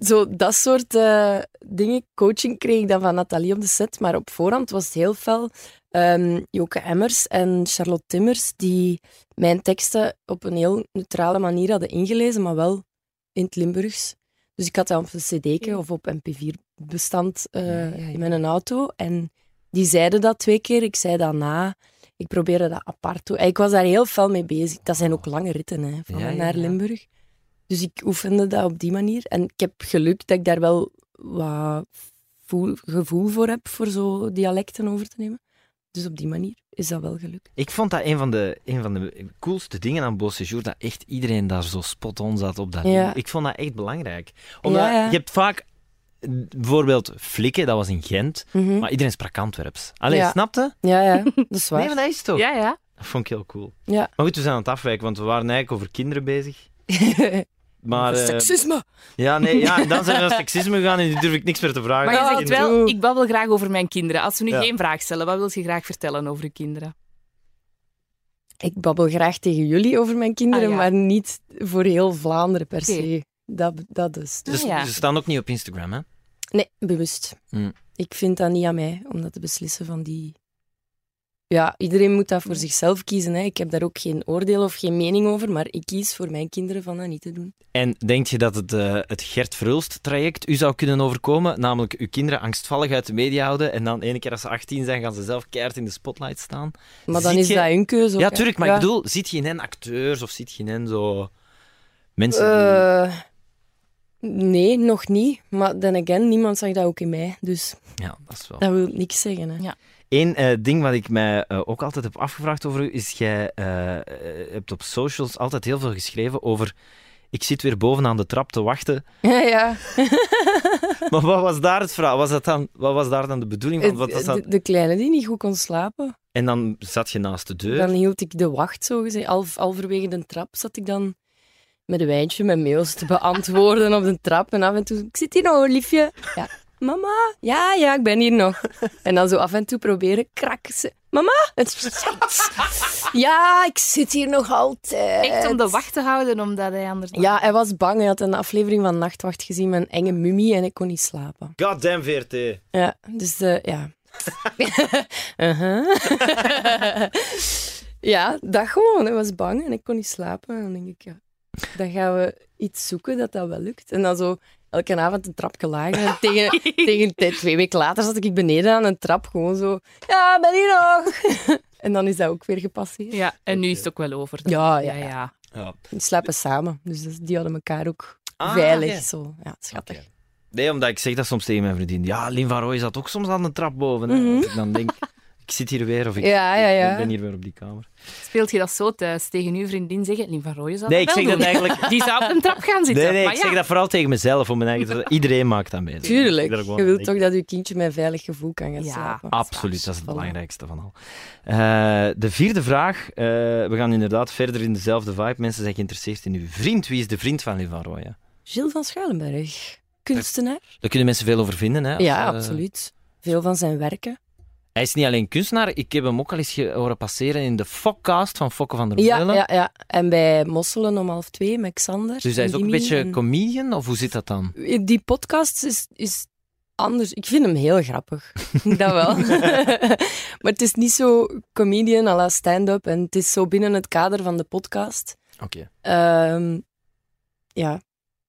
Zo, dat soort eh, dingen, coaching kreeg ik dan van Nathalie op de set, maar op voorhand was het heel fel. Ehm, Joke Emmers en Charlotte Timmers, die mijn teksten op een heel neutrale manier hadden ingelezen, maar wel in het Limburgs. Dus ik had dat op een cd'tje of op mp4-bestand eh, in mijn auto. En die zeiden dat twee keer, ik zei dat na. Ik probeerde dat apart toe. Ik was daar heel fel mee bezig. Dat zijn ook lange ritten, hè, van
Ja, ja,
naar
ja.
Limburg. Dus ik oefende dat op die manier. En ik heb geluk dat ik daar wel wat voel- gevoel voor heb, voor zo dialecten over te nemen. Dus op die manier is dat wel gelukt.
Ik vond dat een van de, een van de coolste dingen aan Beau Séjour, dat echt iedereen daar zo spot-on zat op dat
Ja.
Lim- Ik vond dat echt belangrijk. Omdat
Ja, ja.
je hebt vaak, eh, bijvoorbeeld Flikken, dat was in Gent, maar iedereen sprak Antwerps. Alleen,
Hm. Ja.
snapte?
Ja, ja, dat is waar.
Nee, maar dat is toch?
Ja, ja.
Dat vond ik heel cool.
Ja.
Maar goed, we zijn aan het afwijken, want we waren eigenlijk over kinderen bezig. Maar, eh,
Seksisme!
ja, nee, ja, en dan zijn we naar seksisme gegaan en nu durf ik niks meer te vragen.
Maar je
Ja,
zegt
Kinderen.
wel, ik babbel graag over mijn kinderen. Als we nu
Ja.
geen vraag stellen, wat wil je graag vertellen over je kinderen?
Ik babbel graag tegen jullie over mijn kinderen,
Ah, ja.
maar niet voor heel Vlaanderen per
Oké.
se. Dat, dat dus.
Dus,
Ah, ja.
Ze staan ook niet op Instagram, hè?
Nee, bewust.
Hmm.
Ik vind dat niet aan mij om dat te beslissen van die. Ja, iedereen moet dat voor
Hmm.
zichzelf kiezen. Hè. Ik heb daar ook geen oordeel of geen mening over, maar ik kies voor mijn kinderen van dat niet te doen.
En denk je dat het, eh, het Gert Verhulst-traject u zou kunnen overkomen? Namelijk uw kinderen angstvallig uit de media houden en dan ene keer als ze 18 zijn, gaan ze zelf keihard in de spotlight staan?
Maar dan
Ziet
is
je-
dat hun keuze. ook,
Ja,
hè.
tuurlijk, maar ik bedoel, ziet je in hen acteurs of ziet je in hen zo... Mensen die...
Eh, nee, nog niet. Maar dan again, niemand zag dat ook in mij. Dus
Ja, dat is wel...
dat wil niks zeggen. Hè.
Eén eh, ding wat ik mij eh, ook altijd heb afgevraagd over u, is jij eh, eh, hebt op socials altijd heel veel geschreven over... Ik zit weer bovenaan de trap te wachten.
Ja, ja.
Maar wat was daar het verhaal? Was dat dan, wat was daar dan de bedoeling van? Wat was
de,
dat?
de kleine die niet goed kon slapen.
En dan zat je naast de deur.
Dan hield ik de wacht, zo gezegd. Al, alverwege de trap zat ik dan met een wijntje mijn mails te beantwoorden op de trap. En af en toe, ik zit hier nog, liefje. Ja, mama. Ja, ja, ik ben hier nog. En dan zo af en toe proberen, krak ze. Mama? Het- Ja, ik zit hier nog altijd.
Echt om de wacht te houden, omdat hij anders...
Eh, Ja, hij was bang. Hij had een aflevering van Nachtwacht gezien met een enge mummie en ik kon niet slapen.
Goddamn VRT.
Ja, dus eh, ja. Uh-huh. ja, dat gewoon. Ik was bang en ik kon niet slapen. En dan denk ik, ja, dan gaan we iets zoeken dat dat wel lukt. En dan zo elke avond een trapje lager. En tegen, tegen de- twee weken later zat ik beneden aan een trap, gewoon zo, ja, ben je nog? en dan is dat ook weer gepasseerd.
Ja, en nu is het ook wel over. dan.
Ja, ja,
ja.
ja.
ja.
Ja.
We slapen samen, dus dat- die hadden elkaar ook
Ah,
veilig.
oké.
Zo. Ja, schattig.
Oké. Nee, omdat ik zeg dat soms tegen mijn vriendin. Ja, Lin van Rooij zat ook soms aan de trap boven. hè. Als ik dan denk... ik zit hier weer of ik
Mhm. Ja, ja, ja.
ik ben hier weer op die kamer.
Speelt je dat zo thuis tegen uw vriendin zeggen? Lien van Rooyen zou
Nee,
dat
ik
wel
zeg dat
doen.
eigenlijk-
Die zou op een trap gaan zitten.
Nee, nee,
maar
ik
ja.
zeg dat vooral tegen mezelf. Om mijn eigen... te- Iedereen maakt dat mee.
Tuurlijk.
Ik er gewoon
Je
aan
wilt toch
denken.
dat je kindje met een veilig gevoel kan gaan
Ja,
slapen.
Absoluut, dat is het
Voilà.
belangrijkste van al. Eh, de vierde vraag. eh, we gaan inderdaad verder in dezelfde vibe. Mensen zijn geïnteresseerd in uw vriend. Wie is de vriend van Lien van Rooyen?
Gilles van Schuilenberg, kunstenaar.
Daar kunnen mensen veel over vinden. Hè, als,
Ja,
eh,
absoluut. Veel van zijn werken.
Hij is niet alleen kunstenaar. Ik heb hem ook al eens ge- horen passeren in de Fokcast van Fokke van der
Ja,
Meulen.
ja, ja. En bij Mosselen om half twee met Xander.
Dus hij is
en
ook een
Jimmy
beetje
en- Eh,
comedian? Of hoe zit dat dan?
Die podcast is, is anders. Ik vind hem heel grappig. dat wel. maar het is niet zo comedian à la stand-up. En het is zo binnen het kader van de podcast.
Oké.
Ehm, ja,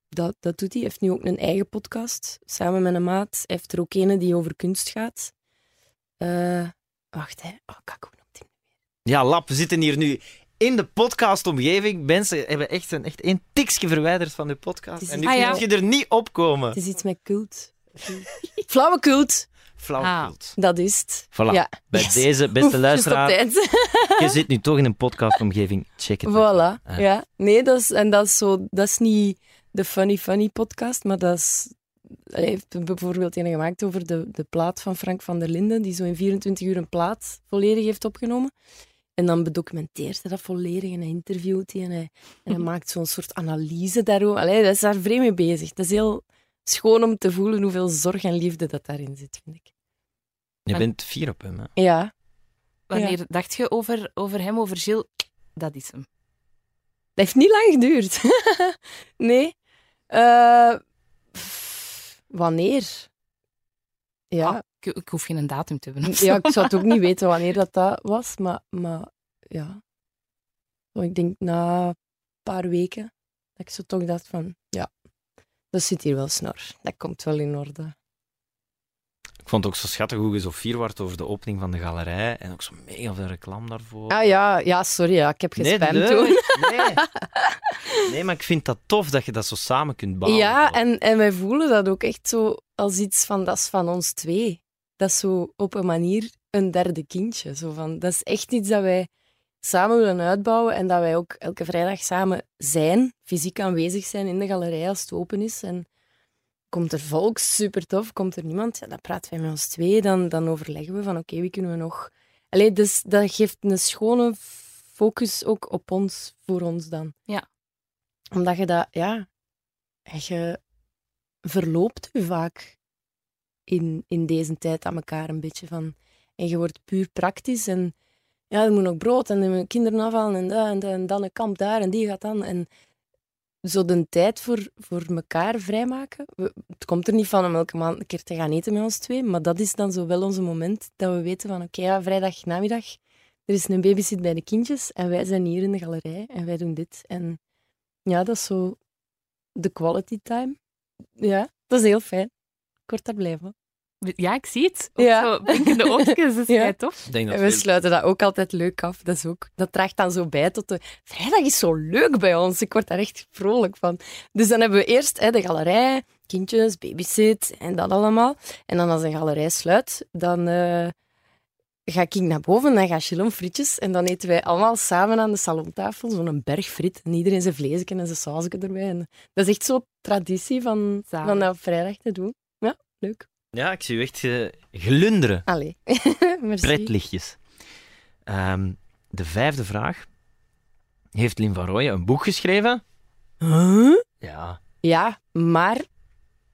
dat, dat doet hij. Hij heeft nu ook een eigen podcast. Samen met een maat. Hij heeft er ook ene die over kunst gaat. Eh, wacht, hè. Oh, kak, hoe noemt hij?
Ja, Lap, we zitten hier nu in de podcastomgeving. Mensen hebben echt een, echt een tikje verwijderd van de podcast.
Het is
En nu
Ah, ja.
kun je er niet op komen.
Het is iets met cult. Flauwe cult,
Flauwkult.
dat is het.
Voilà.
Ja.
Bij
Ah. Yes.
deze,
Oef,
beste
just
luisteraar,
op tijd.
je zit nu toch in een podcastomgeving. Check het.
Voilà,
Ah.
ja. Nee, dat is, en dat is zo... Dat is niet de funny funny podcast, maar dat is... Hij heeft bijvoorbeeld een gemaakt over de, de plaat van Frank van der Linden, die zo in 24 uur een plaat volledig heeft opgenomen. En dan bedocumenteert hij dat volledig en hij interviewt die en hij, en hij maakt zo'n soort analyse daarover. Allee, dat is daar vreemd mee bezig. Dat is heel schoon om te voelen hoeveel zorg en liefde dat daarin zit, vind ik.
Je bent fier op hem. Hè?
Ja.
Wanneer dacht je over, over hem, over Gilles? Dat is hem.
Dat heeft niet lang geduurd. nee. Eh, pff, wanneer? Ja,
Ah, ik, ik hoef geen datum te hebben. of
ja,
zo.
ik zou het ook niet weten wanneer dat, dat was, maar, maar ja. Want Ik denk na een paar weken dat ik zo toch dacht van, ja, dat zit hier wel snor. Dat komt wel in orde.
Ik vond het ook zo schattig hoe je zo fier werd over de opening van de galerij. En ook zo mega veel reclame daarvoor.
Ah ja, ja sorry, ja, ik heb gespamd
nee,
toen.
Nee. nee, maar ik vind dat tof dat je dat zo samen kunt bouwen.
Ja,
Zo.
en, en wij voelen dat ook echt zo als iets van, dat is van ons twee. Dat is zo op een manier een derde kindje. Zo van, dat is echt iets dat wij samen willen uitbouwen en dat wij ook elke vrijdag samen zijn, fysiek aanwezig zijn in de galerij als het open is. En komt er volk, super tof, komt er niemand, ja, dan praten wij met ons twee, dan, dan overleggen we van oké, wie kunnen we nog... Allee, dus dat geeft een schone focus ook op ons, voor ons dan.
Ja.
Omdat je dat, ja, je verloopt je vaak in, in deze tijd aan elkaar een beetje van. En je wordt puur praktisch en ja, er moet nog brood en er moeten kinderen afhalen en, dat, en, dat, en dan een kamp daar en die gaat dan. En zo de tijd voor, voor elkaar vrijmaken. We- het komt er niet van om elke maand een keer te gaan eten met ons twee, maar dat is dan zo wel ons moment dat we weten van oké, ja, vrijdag namiddag, er is een babysit bij de kindjes en wij zijn hier in de galerij en wij doen dit. En ja, dat is zo de quality time. Ja, dat is heel fijn. Ik word daar blij van.
Ja, ik zie het. Ook
Ja.
zo blinkende oogjes, dat is
Ja.
ja. tof.
Ik denk dat
En we
veel-
sluiten dat ook altijd leuk af. Dat, is ook, dat draagt dan zo bij tot de... Vrijdag is zo leuk bij ons. Ik word daar echt vrolijk van. Dus dan hebben we eerst hè, de galerij, kindjes, babysit en dat allemaal. En dan als de galerij sluit, dan eh, ga ik naar boven, dan gaat Chillon frietjes. En dan eten wij allemaal samen aan de salontafel zo'n berg friet. En iedereen zijn vleesken en zijn sausken erbij. En dat is echt zo'n traditie van,
Zalig.
van dat op vrijdag te doen. Ja, leuk.
Ja, ik zie u echt eh, glunderen.
Allee, merci.
Pretlichtjes. Ehm, de vijfde vraag. Heeft Lin van Rooyen een boek geschreven?
Huh?
Ja.
Ja, maar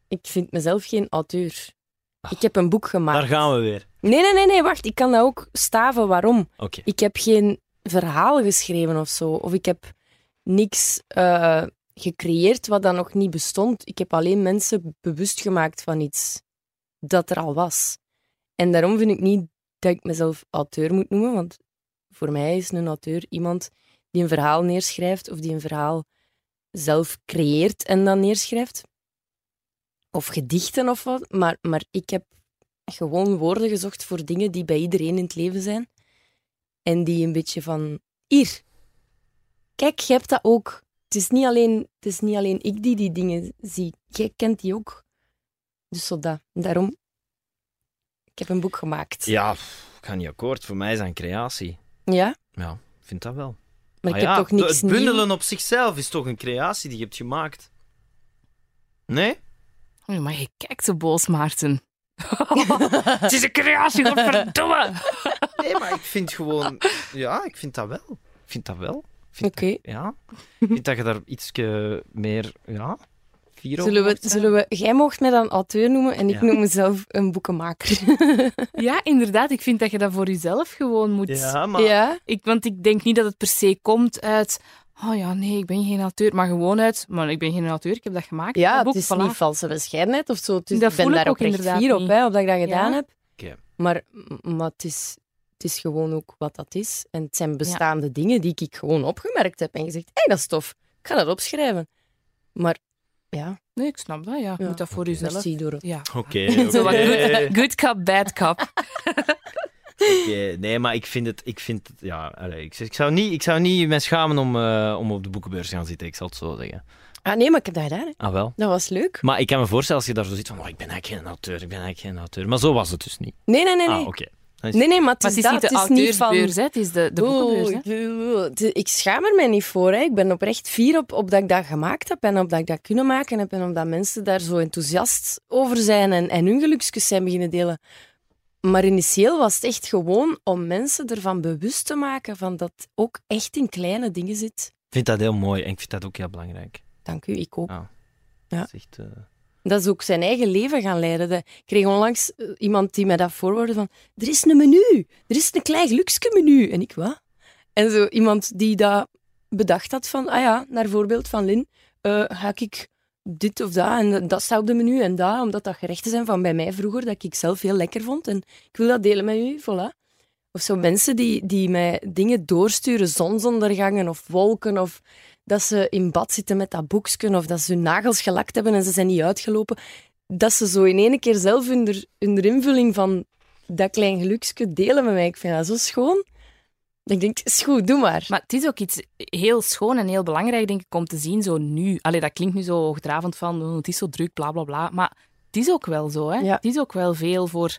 ik vind mezelf geen auteur.
Ah,
Ik heb een boek gemaakt.
Daar gaan we weer.
Nee, nee, nee, nee, wacht. Ik kan dat ook staven waarom.
Oké.
Ik heb geen verhaal geschreven of zo. Of ik heb niks eh, gecreëerd wat dan nog niet bestond. Ik heb alleen mensen bewust gemaakt van iets dat er al was. En daarom vind ik niet dat ik mezelf auteur moet noemen, want voor mij is een auteur iemand die een verhaal neerschrijft of die een verhaal zelf creëert en dan neerschrijft. Of gedichten of wat. Maar, maar ik heb gewoon woorden gezocht voor dingen die bij iedereen in het leven zijn. En die een beetje van, hier, kijk, je hebt dat ook. Het is niet alleen, het is niet alleen ik die die dingen zie. Jij kent die ook. Dus zo dat. Daarom, ik heb een boek gemaakt.
Ja, pff, ik ga niet akkoord. Voor mij is dat een creatie.
Ja,
Ja, ik vind dat wel.
maar
Ah
ik
ja,
heb toch niks
Het bundelen
nieuw.
op zichzelf is toch een creatie die je hebt gemaakt? Nee?
Oei, Oh, maar je kijkt zo boos, Maarten. het is een creatie, godverdomme!
Nee, maar ik vind gewoon... Ja, ik vind dat wel. Ik vind dat wel. Ik vind
Oké.
dat- ja. Ik vind dat je daar iets eh, meer... Ja. Vier over
Zullen we,
mag zijn.
zullen we, jij mocht mij dan auteur noemen en ik
Ja.
noem mezelf een boekenmaker.
Ja, inderdaad. Ik vind dat je dat voor jezelf gewoon moet...
Ja, maar...
ja?
Ik, want ik denk niet dat het per se komt uit... Oh ja, nee, ik ben geen auteur. Maar gewoon uit... Maar ik ben geen auteur, ik heb dat gemaakt.
ja,
dat
het
boek,
is
voilà.
niet valse bescheidenheid of zo. Het is-
Dat
ik ben
voel ik
daar
ook
ook echt
inderdaad
fier op,
niet.
hè, op dat ik dat gedaan
Ja.
heb.
Oké.
Maar, maar het, is, het is gewoon ook wat dat is. En het zijn bestaande dingen die ik gewoon opgemerkt heb en gezegd, hé, hey, dat is tof, ik ga dat opschrijven. Maar ja,
Nee, ik snap dat, ja. Je
Ja.
moet dat voor jezelf...
merci door het.
Ja.
Oké,
Zo wat
oké.
good, good cup, bad cup.
Oké, Nee, maar ik vind het... Ik, vind het, ja, allee, ik, ik, zou niet, ik zou niet me schamen om, eh, om op de boekenbeurs te gaan zitten. Ik zal het zo zeggen.
Ah nee, maar ik heb dat gedaan. hè.
Ah, wel.
Dat was leuk.
Maar ik kan me voorstellen als je daar zo zit van... Oh, ik ben eigenlijk geen auteur, ik ben eigenlijk geen auteur. Maar zo was het dus niet.
Nee, nee, nee.
Ah,
Nee,
oké.
nee, nee maar het
Maar
is,
het is
dat,
niet de
het is niet van...
auteursbeurs, hè. Het is de, de boekenbeurs, hè.
Oeh, oeh, oeh. Ik schaam er mij niet voor. Hè. Ik ben oprecht fier op, op dat ik dat gemaakt heb en op dat ik dat kunnen maken heb en op dat mensen daar zo enthousiast over zijn en, en hun gelukskus zijn beginnen delen. Maar initieel was het echt gewoon om mensen ervan bewust te maken van dat het ook echt in kleine dingen zit.
Ik vind dat heel mooi en ik vind dat ook heel belangrijk.
Dank u, ik ook. Ja.
Dat is echt, eh,
Dat is ook zijn eigen leven gaan leiden. De- Ik kreeg onlangs eh, iemand die mij dat voorwoordde van... Er is een menu. Er is een klein geluksje menu. En ik, wat? En zo iemand die dat bedacht had van... Ah ja, naar voorbeeld van Lin, eh ga ik dit of dat en dat staat op de menu en dat, omdat dat gerechten zijn van bij mij vroeger, dat ik zelf heel lekker vond. En ik wil dat delen met u, voilà. Of zo mensen die, die mij dingen doorsturen, zonsondergangen of wolken of dat ze in bad zitten met dat boeksken of dat ze hun nagels gelakt hebben en ze zijn niet uitgelopen. Dat ze zo in één keer zelf hun, er- hun er invulling van dat klein geluksje delen met mij. Ik vind dat zo schoon. Dat ik denk, is goed, doe maar.
Maar het is ook iets heel schoon en heel belangrijk, denk ik, om te zien zo nu. Allee, dat klinkt nu zo hoogdravend van, oh, het is zo druk, bla, bla, bla. Maar het is ook wel zo, hè.
Ja.
Het is ook wel veel voor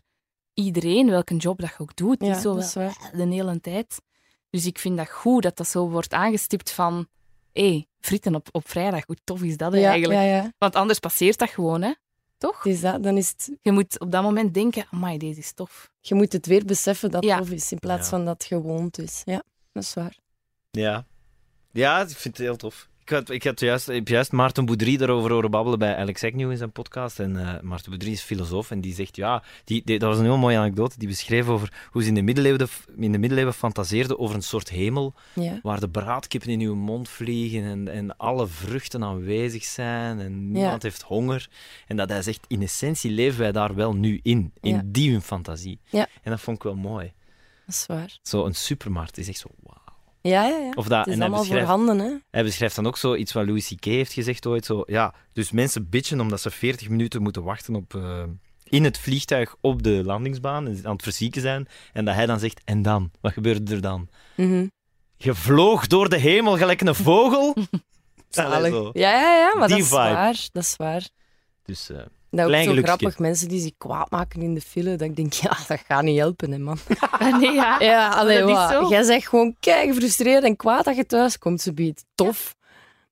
iedereen, welke job dat je ook doet. Het
Ja,
is zo
dat is
wel
waar.
de hele tijd. Dus ik vind dat goed dat dat zo wordt aangestipt van... Hé, hey, frieten op, op vrijdag, hoe tof is dat hè,
ja,
eigenlijk?
ja, ja.
Want anders passeert dat gewoon, hè. Toch?
Het is dat. Dan is het
Je moet op dat moment denken, amai, deze is tof.
je moet het weer beseffen dat het
Ja.
tof is, in plaats
Ja.
van dat het gewoond is. Ja, dat is waar.
Ja. Ja, ik vind het heel tof. Ik had, ik had juist, ik heb juist Maarten Boudry daarover horen babbelen bij Alex Agnew in zijn podcast. En eh, Maarten Boudry is filosoof en die zegt, ja, die, die- dat was een heel mooie anekdote. Die beschreef over hoe ze in de middeleeuwen, de- in de middeleeuwen fantaseerden over een soort hemel
Ja.
waar de braadkippen in uw mond vliegen en, en alle vruchten aanwezig zijn en niemand heeft honger. En dat hij zegt, in essentie leven wij daar wel nu in, in
Ja.
die hun fantasie.
Ja.
En dat vond ik wel mooi.
Dat is waar.
Zo, een supermarkt is echt zo, wauw.
Ja, ja, ja.
Of dat,
het is
en hij
allemaal
beschrijft,
voorhanden, hè.
hij beschrijft dan ook zo iets wat Louis C.K. heeft gezegd ooit. Zo, ja, dus mensen bitchen omdat ze 40 minuten moeten wachten op, eh, in het vliegtuig op de landingsbaan en aan het verzieken zijn. En dat hij dan zegt, en dan? Wat gebeurde er dan?
Mhm.
Je vloog door de hemel gelijk een vogel. Allee, zo.
Ja, ja, ja, maar
Die
dat is
vibe.
waar. Dat is waar.
Dus eh,
Dat
Klein
is ook zo
geluksje.
grappig, mensen die zich kwaad maken in de file, dat ik denk, ja, dat gaat niet helpen, hè, man.
Ah, nee, ja.
Ja, alleen
dat is
wat.
zo.
Jij zegt gewoon kei gefrustreerd en kwaad dat je thuis komt, ze biedt. Tof.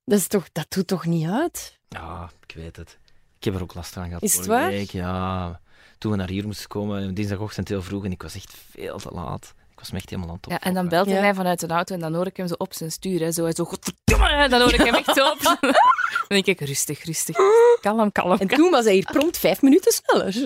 Dat, is toch, dat doet toch niet uit?
ja, ik weet het. Ik heb er ook last van gehad
Is het
vorige
waar?
week. Ja, toen we naar hier moesten komen, dinsdagochtend heel vroeg, en ik was echt veel te laat. Ik was me echt helemaal aan het
Ja, en dan
opfokken.
belt hij
Ja.
mij vanuit de auto en dan hoor ik hem zo op zijn stuur. Hè, zo, hij zo, godverdomme, dan hoor ik hem echt zo op. zijn- dan denk ik, rustig, rustig. Kalm, kalm,
En
kalm.
toen was hij hier prompt vijf minuten sneller.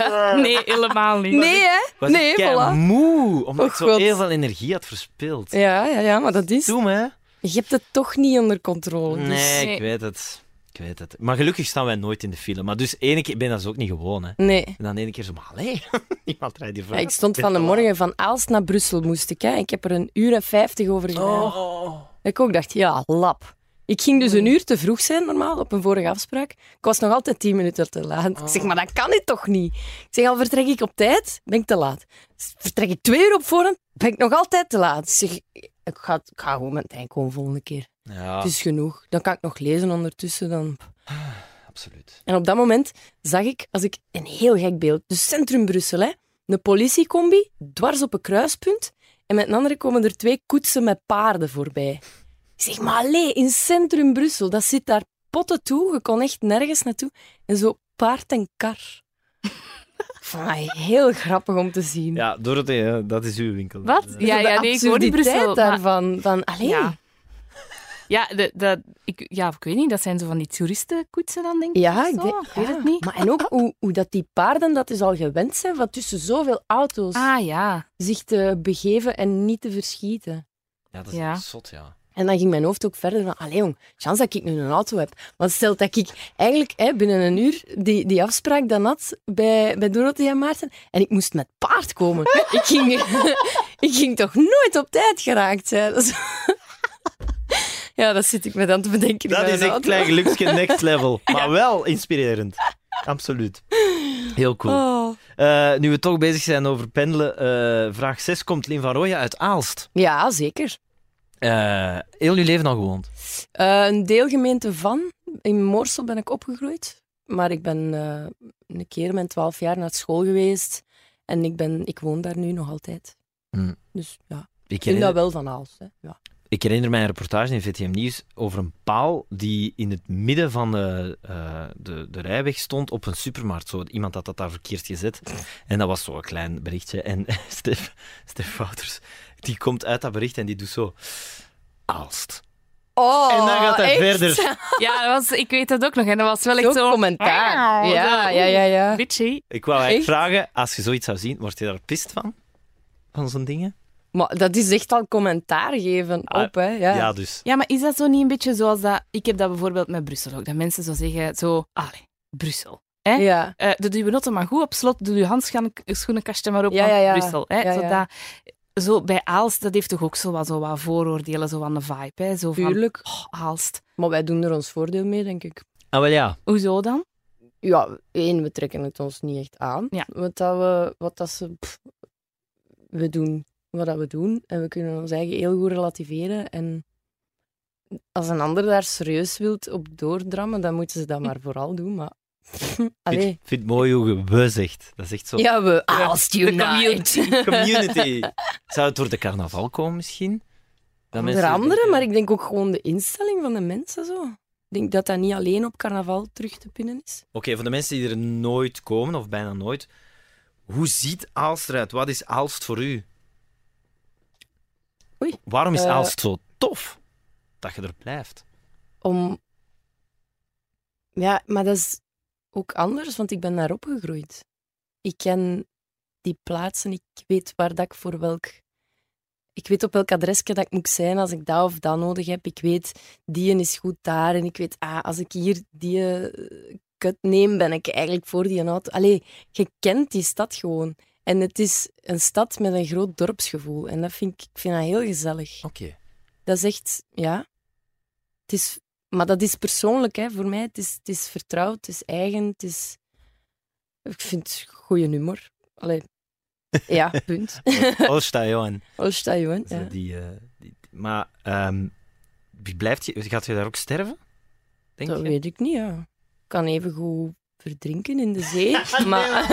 Ja, nee, helemaal niet.
Nee, hè?
was
nee,
ik
voilà.
moe, omdat
Oh,
ik zo
God.
heel veel energie had verspild.
Ja, ja, ja, maar dat is...
Doe me.
Je hebt het toch niet onder controle. dus-
Nee, ik
Nee.
weet het. Ik weet het. Maar gelukkig staan wij nooit in de file. Maar dus ene keer ik ben dat ook niet gewoon, hè.
Nee.
En dan ene keer zo, maar allee, niemand rijdt hier
Ja,
vooruit.
ik stond van de morgen van Aalst naar Brussel moest ik. Hè. Ik heb er een uur en vijftig over gedaan.
Oh, oh.
Ik ook dacht, ja, lap. Ik ging dus een uur te vroeg zijn normaal op een vorige afspraak. Ik was nog altijd tien minuten te laat.
Oh.
Ik zeg, maar dat kan dit toch niet? Ik zeg, al vertrek ik op tijd, ben ik te laat. S- Vertrek ik twee uur op voorhand, ben ik nog altijd te laat. Ik zeg, ik ga, ik ga gewoon met het eind komen volgende keer.
Ja,
Het is genoeg. Dan kan ik nog lezen ondertussen. Dan
absoluut.
en op dat moment zag ik, als ik een heel gek beeld, dus centrum Brussel, hè, Een politiecombi, dwars op een kruispunt. En met een andere komen er twee koetsen met paarden voorbij. Ik zeg, maar allee, in centrum Brussel, dat zit daar potten toe. Je kon echt nergens naartoe. En zo paard en kar. Ik vond dat heel grappig om te zien. Dus
Ja, Dorothee, hè, dat is uw winkel.
Wat?
Eh,
Ja, ja,
de
nee, ik woon in
absurditeit
Brussel. maar-
daarvan. Van, allee,
Ja. Ja, de, de, ik, ja, ik weet niet. Dat zijn zo van die toeristenkoetsen dan, denk ik.
Ja,
of
ik
zo.
denk-
weet
ja.
het niet.
Maar en ook hoe, hoe dat die paarden dat is al gewend zijn van tussen zoveel auto's
Ah ja.
zich te begeven en niet te verschieten.
Ja, dat
Ja.
echt zot, ja.
En dan ging mijn hoofd ook verder van, allee jong, chance dat ik nu een auto heb. Want stel dat ik eigenlijk hè, binnen een uur die, die afspraak dan had bij, bij Dorothee en Maarten en ik moest met paard komen. ik, ging, ik ging toch nooit op tijd geraakt zijn. Dat is- ja, dat zit ik me dan te bedenken.
Dat
bij
is
een
een
auto.
klein geluksje next level. Maar wel inspirerend. Absoluut. Heel cool.
Oh.
Eh, nu we toch bezig zijn over pendelen, eh, vraag 6 komt Lin van Rooyen uit Aalst.
Ja, zeker.
Eh, heel je leven al gewoond.
Eh, een deelgemeente van. In Moorsel ben ik opgegroeid. Maar ik ben eh, een keer mijn twaalf jaar naar school geweest. En ik, ben, ik woon daar nu nog altijd.
Hmm.
Dus ja,
Ik
ik vind dat
herinner,
wel van alles. Hè. Ja.
ik herinner mij een reportage in VTM Nieuws over een paal die in het midden van de, eh, de, de rijweg stond op een supermarkt. Zo, iemand had dat daar verkeerd gezet. En dat was zo'n klein berichtje. En Stef, Stef Wouters, die komt uit dat bericht en die doet zo... Aalst.
Oh,
En dan gaat hij
echt?
verder.
Ja, dat was, ik weet dat ook nog. En dat was wel echt
Zo'n
zo... Ah,
commentaar.
Wauw,
Ja,
zo,
ja, ja, ja.
Bitchy.
Ik wou eigenlijk
Echt?
vragen, als je zoiets zou zien, word je daar pist van? Van zo'n dingen?
Maar dat is echt al commentaar geven
Ah,
op, hè. Ja.
ja dus.
Ja, maar is dat zo niet een beetje zoals dat... Ik heb dat bijvoorbeeld met Brussel ook. Dat mensen zo zeggen, zo... Allee, Brussel. hè?
Ja.
Eh, doe je noten maar goed op slot. Doe je handschoenenkastje maar op
Ja,
van
ja, ja.
Brussel. Hè?
Ja,
Zo
ja.
dat- zo, bij Aalst, dat heeft toch ook zo wat, zo wat vooroordelen, zo van de vibe. Hè? Zo van,
tuurlijk.
"Oh, Aalst.
Maar wij doen er ons voordeel mee, denk ik.
Ah, wel ja.
Hoezo dan?
Ja, één, we trekken het ons niet echt aan.
Ja.
Wat, dat we, wat dat ze... pff, we doen wat dat we doen. En we kunnen ons eigen heel goed relativeren. En als een ander daar serieus wilt op doordrammen, dan moeten ze dat maar vooral doen. Maar...
Ik
Allee.
vind, vind het mooi hoe je we zegt. Dat is echt zo.
Ja, we... Als
de community.
Community. Zou het door de carnaval komen misschien? Dat
Onder
mensen-
andere, maar ik denk ook gewoon de instelling van de mensen zo. Ik denk dat dat niet alleen op carnaval terug te pinnen is.
Oké, voor de mensen die er nooit komen, of bijna nooit, hoe ziet Aalst eruit? Wat is Aalst voor u?
Oei.
Waarom is
Eh.
Aalst zo tof dat je er blijft?
om. Ja, maar dat is ook anders, want ik ben daar opgegroeid. Ik ken die plaatsen, ik weet waar dat ik voor welk. Ik weet op welk adresje dat ik moet zijn als ik dat of dat nodig heb. Ik weet, die is goed daar. En ik weet, ah, als ik hier die eh, kut neem, ben ik eigenlijk voor die auto. Allee, je kent die stad gewoon. En het is een stad met een groot dorpsgevoel. En dat vind ik, ik vind dat heel gezellig.
Oké.
Dat is echt, ja. Het is, maar dat is persoonlijk hè, voor mij. Het is, het is vertrouwd, het is eigen, het is... Ik vind het goede humor. Allee. Ja, punt.
Oosta, Oh, Johan.
Als dat jongen.
Zo
Ja.
die, eh, die- die- maar ehm, wie blijft je, gaat je daar ook sterven? Denk
Dat
je?
weet ik niet, ja. Ik kan even goed verdrinken in de zee, maar...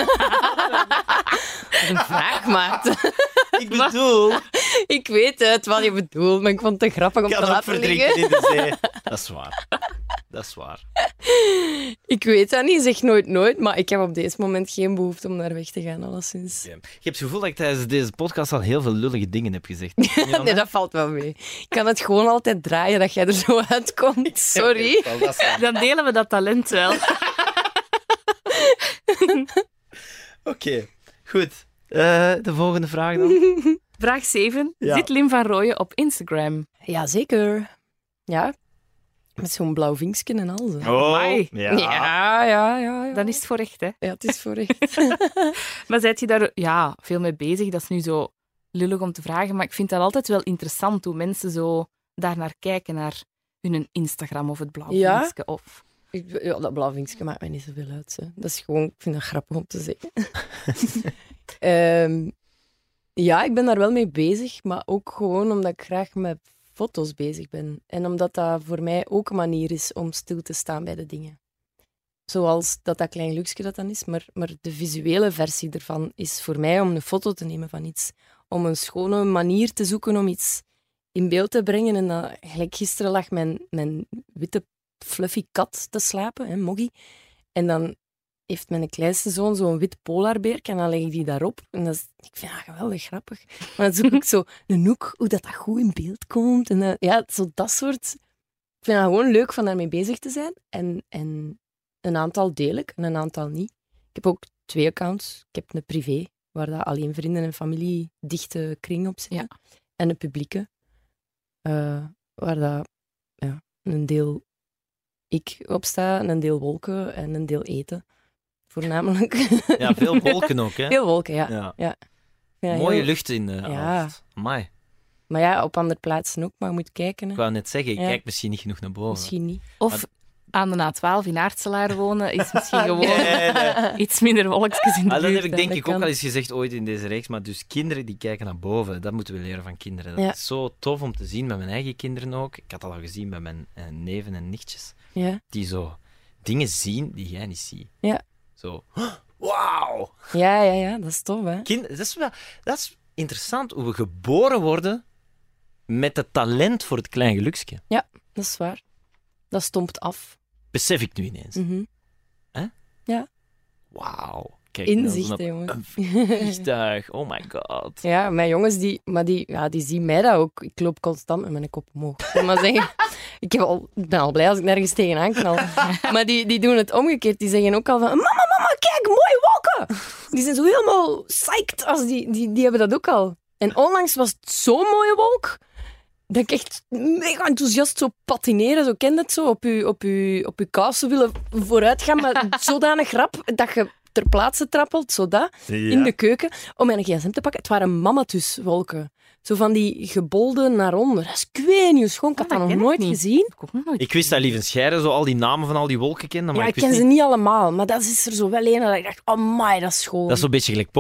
Wat een vraag, maat.
Ik bedoel,
Ik weet het wat je bedoelt, maar ik vond het te grappig om
ik
te
kan ook
laten liggen.
verdrinken in de zee. Dat is waar. Dat is waar.
Ik weet dat niet, zeg nooit nooit, maar ik heb op deze moment geen behoefte om daar weg te gaan, alleszins.
Ja. Ik heb het gevoel dat ik tijdens deze podcast al heel veel lullige dingen heb gezegd. Niet aan
Nee,
mij?
dat valt wel mee. Ik kan het gewoon altijd draaien dat jij er zo uitkomt. Sorry.
Wel, dat is waar.
Dan delen we dat talent wel.
Oké, goed. Eh, de volgende vraag dan.
Vraag 7.
Ja.
Zit Lim van Rooyen op Instagram?
Jazeker. Ja. Met zo'n blauw vinkje en al. zo.
Amai.
Oh, ja.
Ja, ja, ja. ja.
Dan is het voor echt, hè?
Ja, het is voor echt.
Maar zijt je daar ja, veel mee bezig? Dat is nu zo lullig om te vragen, maar ik vind dat altijd wel interessant hoe mensen zo daar naar kijken, naar hun Instagram of het blauw
Ja?
vinkje Of...
Ik- Ja, dat blauw vinkje maakt mij niet zoveel uit. Hè. Dat is gewoon, ik vind dat grappig om te zeggen. Ehm, ja, ik ben daar wel mee bezig, maar ook gewoon omdat ik graag met foto's bezig ben. En omdat dat voor mij ook een manier is om stil te staan bij de dingen. Zoals dat, dat klein luxe dat dan is. Maar, maar de visuele versie ervan is voor mij om een foto te nemen van iets. Om een schone manier te zoeken om iets in beeld te brengen. En dat, gelijk gisteren lag mijn, mijn witte fluffy kat te slapen, hè, Moggy. En dan heeft mijn kleinste zoon zo'n wit polarbeerk en dan leg ik die daarop. En dat is, ik vind dat geweldig grappig. Maar dan zoek ik zo een hoek, hoe dat, dat goed in beeld komt. En dan- ja, zo dat soort... Ik vind het gewoon leuk van daarmee bezig te zijn. En, en een aantal deel ik en een aantal niet. Ik heb ook twee accounts. Ik heb een privé, waar dat alleen vrienden en familie dichte kring op zitten. En een publieke, eh, waar dat, ja, een deel ik op sta, en een deel wolken en een deel eten. Voornamelijk.
Ja, veel wolken ook, hè?
Heel wolken, ja.
Ja.
Ja,
Mooie
heel-
lucht in de
Ja.
avond. Amai.
Maar ja, op andere plaatsen ook, maar je moet kijken.
Ik
Hè.
wou net zeggen, ik
Ja.
kijk misschien niet genoeg naar boven.
Misschien niet.
Of aan de A12 in Aartselaar wonen is misschien gewoon
Nee, nee, nee.
iets minder wolkjes in de
Ah, dat
buurt,
heb ik
hè.
denk
dat
ik ook
kan.
al eens gezegd ooit in deze reeks. Maar dus kinderen die kijken naar boven, dat moeten we leren van kinderen. Dat
Ja.
is zo tof om te zien bij mijn eigen kinderen ook. Ik had dat al gezien bij mijn eh, neven en nichtjes.
Ja.
Die zo dingen zien die jij niet ziet.
Ja.
Zo, wauw!
ja, ja, ja, dat is tof, hè.
Kind, dat, is wel, dat is interessant hoe we geboren worden met het talent voor het klein geluksje.
Dat is waar. Dat stompt af.
Besef ik nu ineens.
Mhm.
Wauw. Kijk, dat is
Inzicht,
een-
hè, jongen.
een vliegtuig. Oh my god.
Ja, mijn jongens, die, maar die, ja, die zien mij dat ook. Ik loop constant met mijn kop omhoog. Ik wil Maar zeggen, ik heb al, ik ben al blij als ik nergens tegenaan knal. Maar die, die doen het omgekeerd. Die zeggen ook al van, mama, mama, kijk, mooie wolken. Die zijn zo helemaal psyched. Als die, die, die hebben dat ook al. En onlangs was het zo'n mooie wolk, dat ik echt mega enthousiast zo patineren, zo kent het zo, op je, op je, op je kousen willen vooruit gaan, maar zodanig rap dat je ter plaatse trappelt, zo dat in de keuken om mijn gsm te pakken. Het waren mammatuswolken. Zo van die gebolden naar onder. Dat is kwenius, gewoon. Ik had
Ah,
dat nog
ken
nooit
niet.
gezien.
Dat heb ik ook nog nooit
Ik wist dat Lieve Scheire zo al die namen van al die wolken kende, maar
ja, ik
ik wist
ken ze
niet-
niet allemaal, maar dat is er zo wel een dat ik dacht, oh my, dat is schoon.
Dat is zo'n beetje gelijk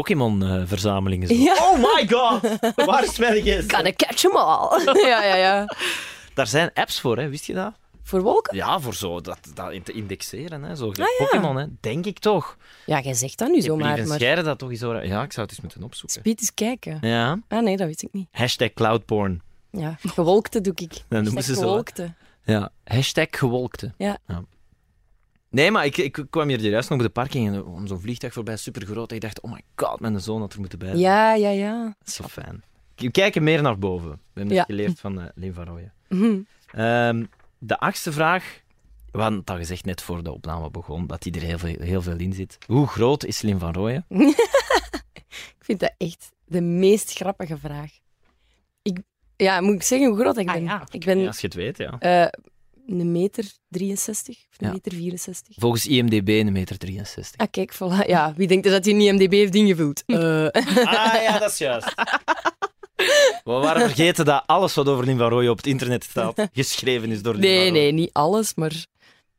Pokémon-verzamelingen. zo.
Ja.
Oh my god! Waar is mijn geest?
Gotta catch 'em all. ja, ja, ja.
Daar zijn apps voor, hè? wist je dat?
Voor wolken?
Ja, voor zo dat, dat in te indexeren. Hè? Zo gelijk Pokémon, hè? denk ik toch.
Ja, jij zegt dat nu
Heeft
Ah, zomaar,
Lieve
maar
Scheire dat toch eens horen? Ja, ik zou het eens moeten opzoeken.
speed eens kijken.
Ja,
Ah nee, dat weet ik niet.
hashtag cloudporn.
Ja, gewolkte doe ik.
Dan
Hashtag
moeten ze zo, hè.
gewolkte.
Ja, hashtag gewolkte.
Ja.
Nee, maar ik, ik kwam hier juist nog op de parking en er kwam zo'n vliegtuig voorbij, supergroot. En ik dacht, oh my god, mijn zoon had er moeten bij. zijn.
Ja, ja, ja.
Dat is zo fijn. We kijken meer naar boven. We hebben
Ja.
het geleerd van eh, Lin van Rooyen.
Mhm.
Ehm, de achtste vraag. We hadden het al gezegd net voor de opname begon, dat die er heel veel, heel veel in zit. Hoe groot is Lin van Rooyen?
Ik vind dat echt de meest grappige vraag. Ik, ja, moet ik zeggen hoe groot ik
Ah,
ben?
ja.
Ik ben
Ja, als je het weet, ja.
Eh, een meter 63 of een
Ja.
meter 64.
Volgens IMDB een meter 63.
Ah, kijk, voilà. Ja, wie denkt er dat hij een IMDb heeft ingevuld? Eh,
Ah ja, dat is juist. We waren vergeten dat alles wat over Lin van Rooyen op het internet staat, geschreven is door Lin van
nee,
Rooyen.
nee, niet alles, maar...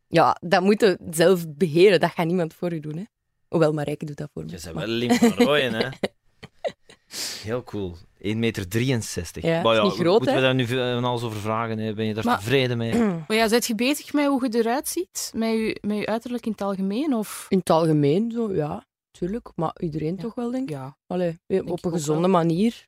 Ja, dat moet je zelf beheren. Dat gaat niemand voor je doen, hè. Hoewel, Marijke doet dat voor me.
Je bent
Maar-
wel Lin van Rooyen, hè. Heel cool. 1,63 meter. 63.
Ja,
maar
is
ja,
niet groot,
moeten we
hè?
daar nu veel- van alles over vragen? Hè? Ben je daar
Maar-
tevreden mee?
Maar ja, zet je bezig met hoe je eruit ziet? Met je, met je uiterlijk in het algemeen? Of...
In het algemeen, zo, ja. Tuurlijk, maar iedereen toch wel, denk ik.
Ja.
Allee, eh,
ik
op een
ook
gezonde
wel.
manier.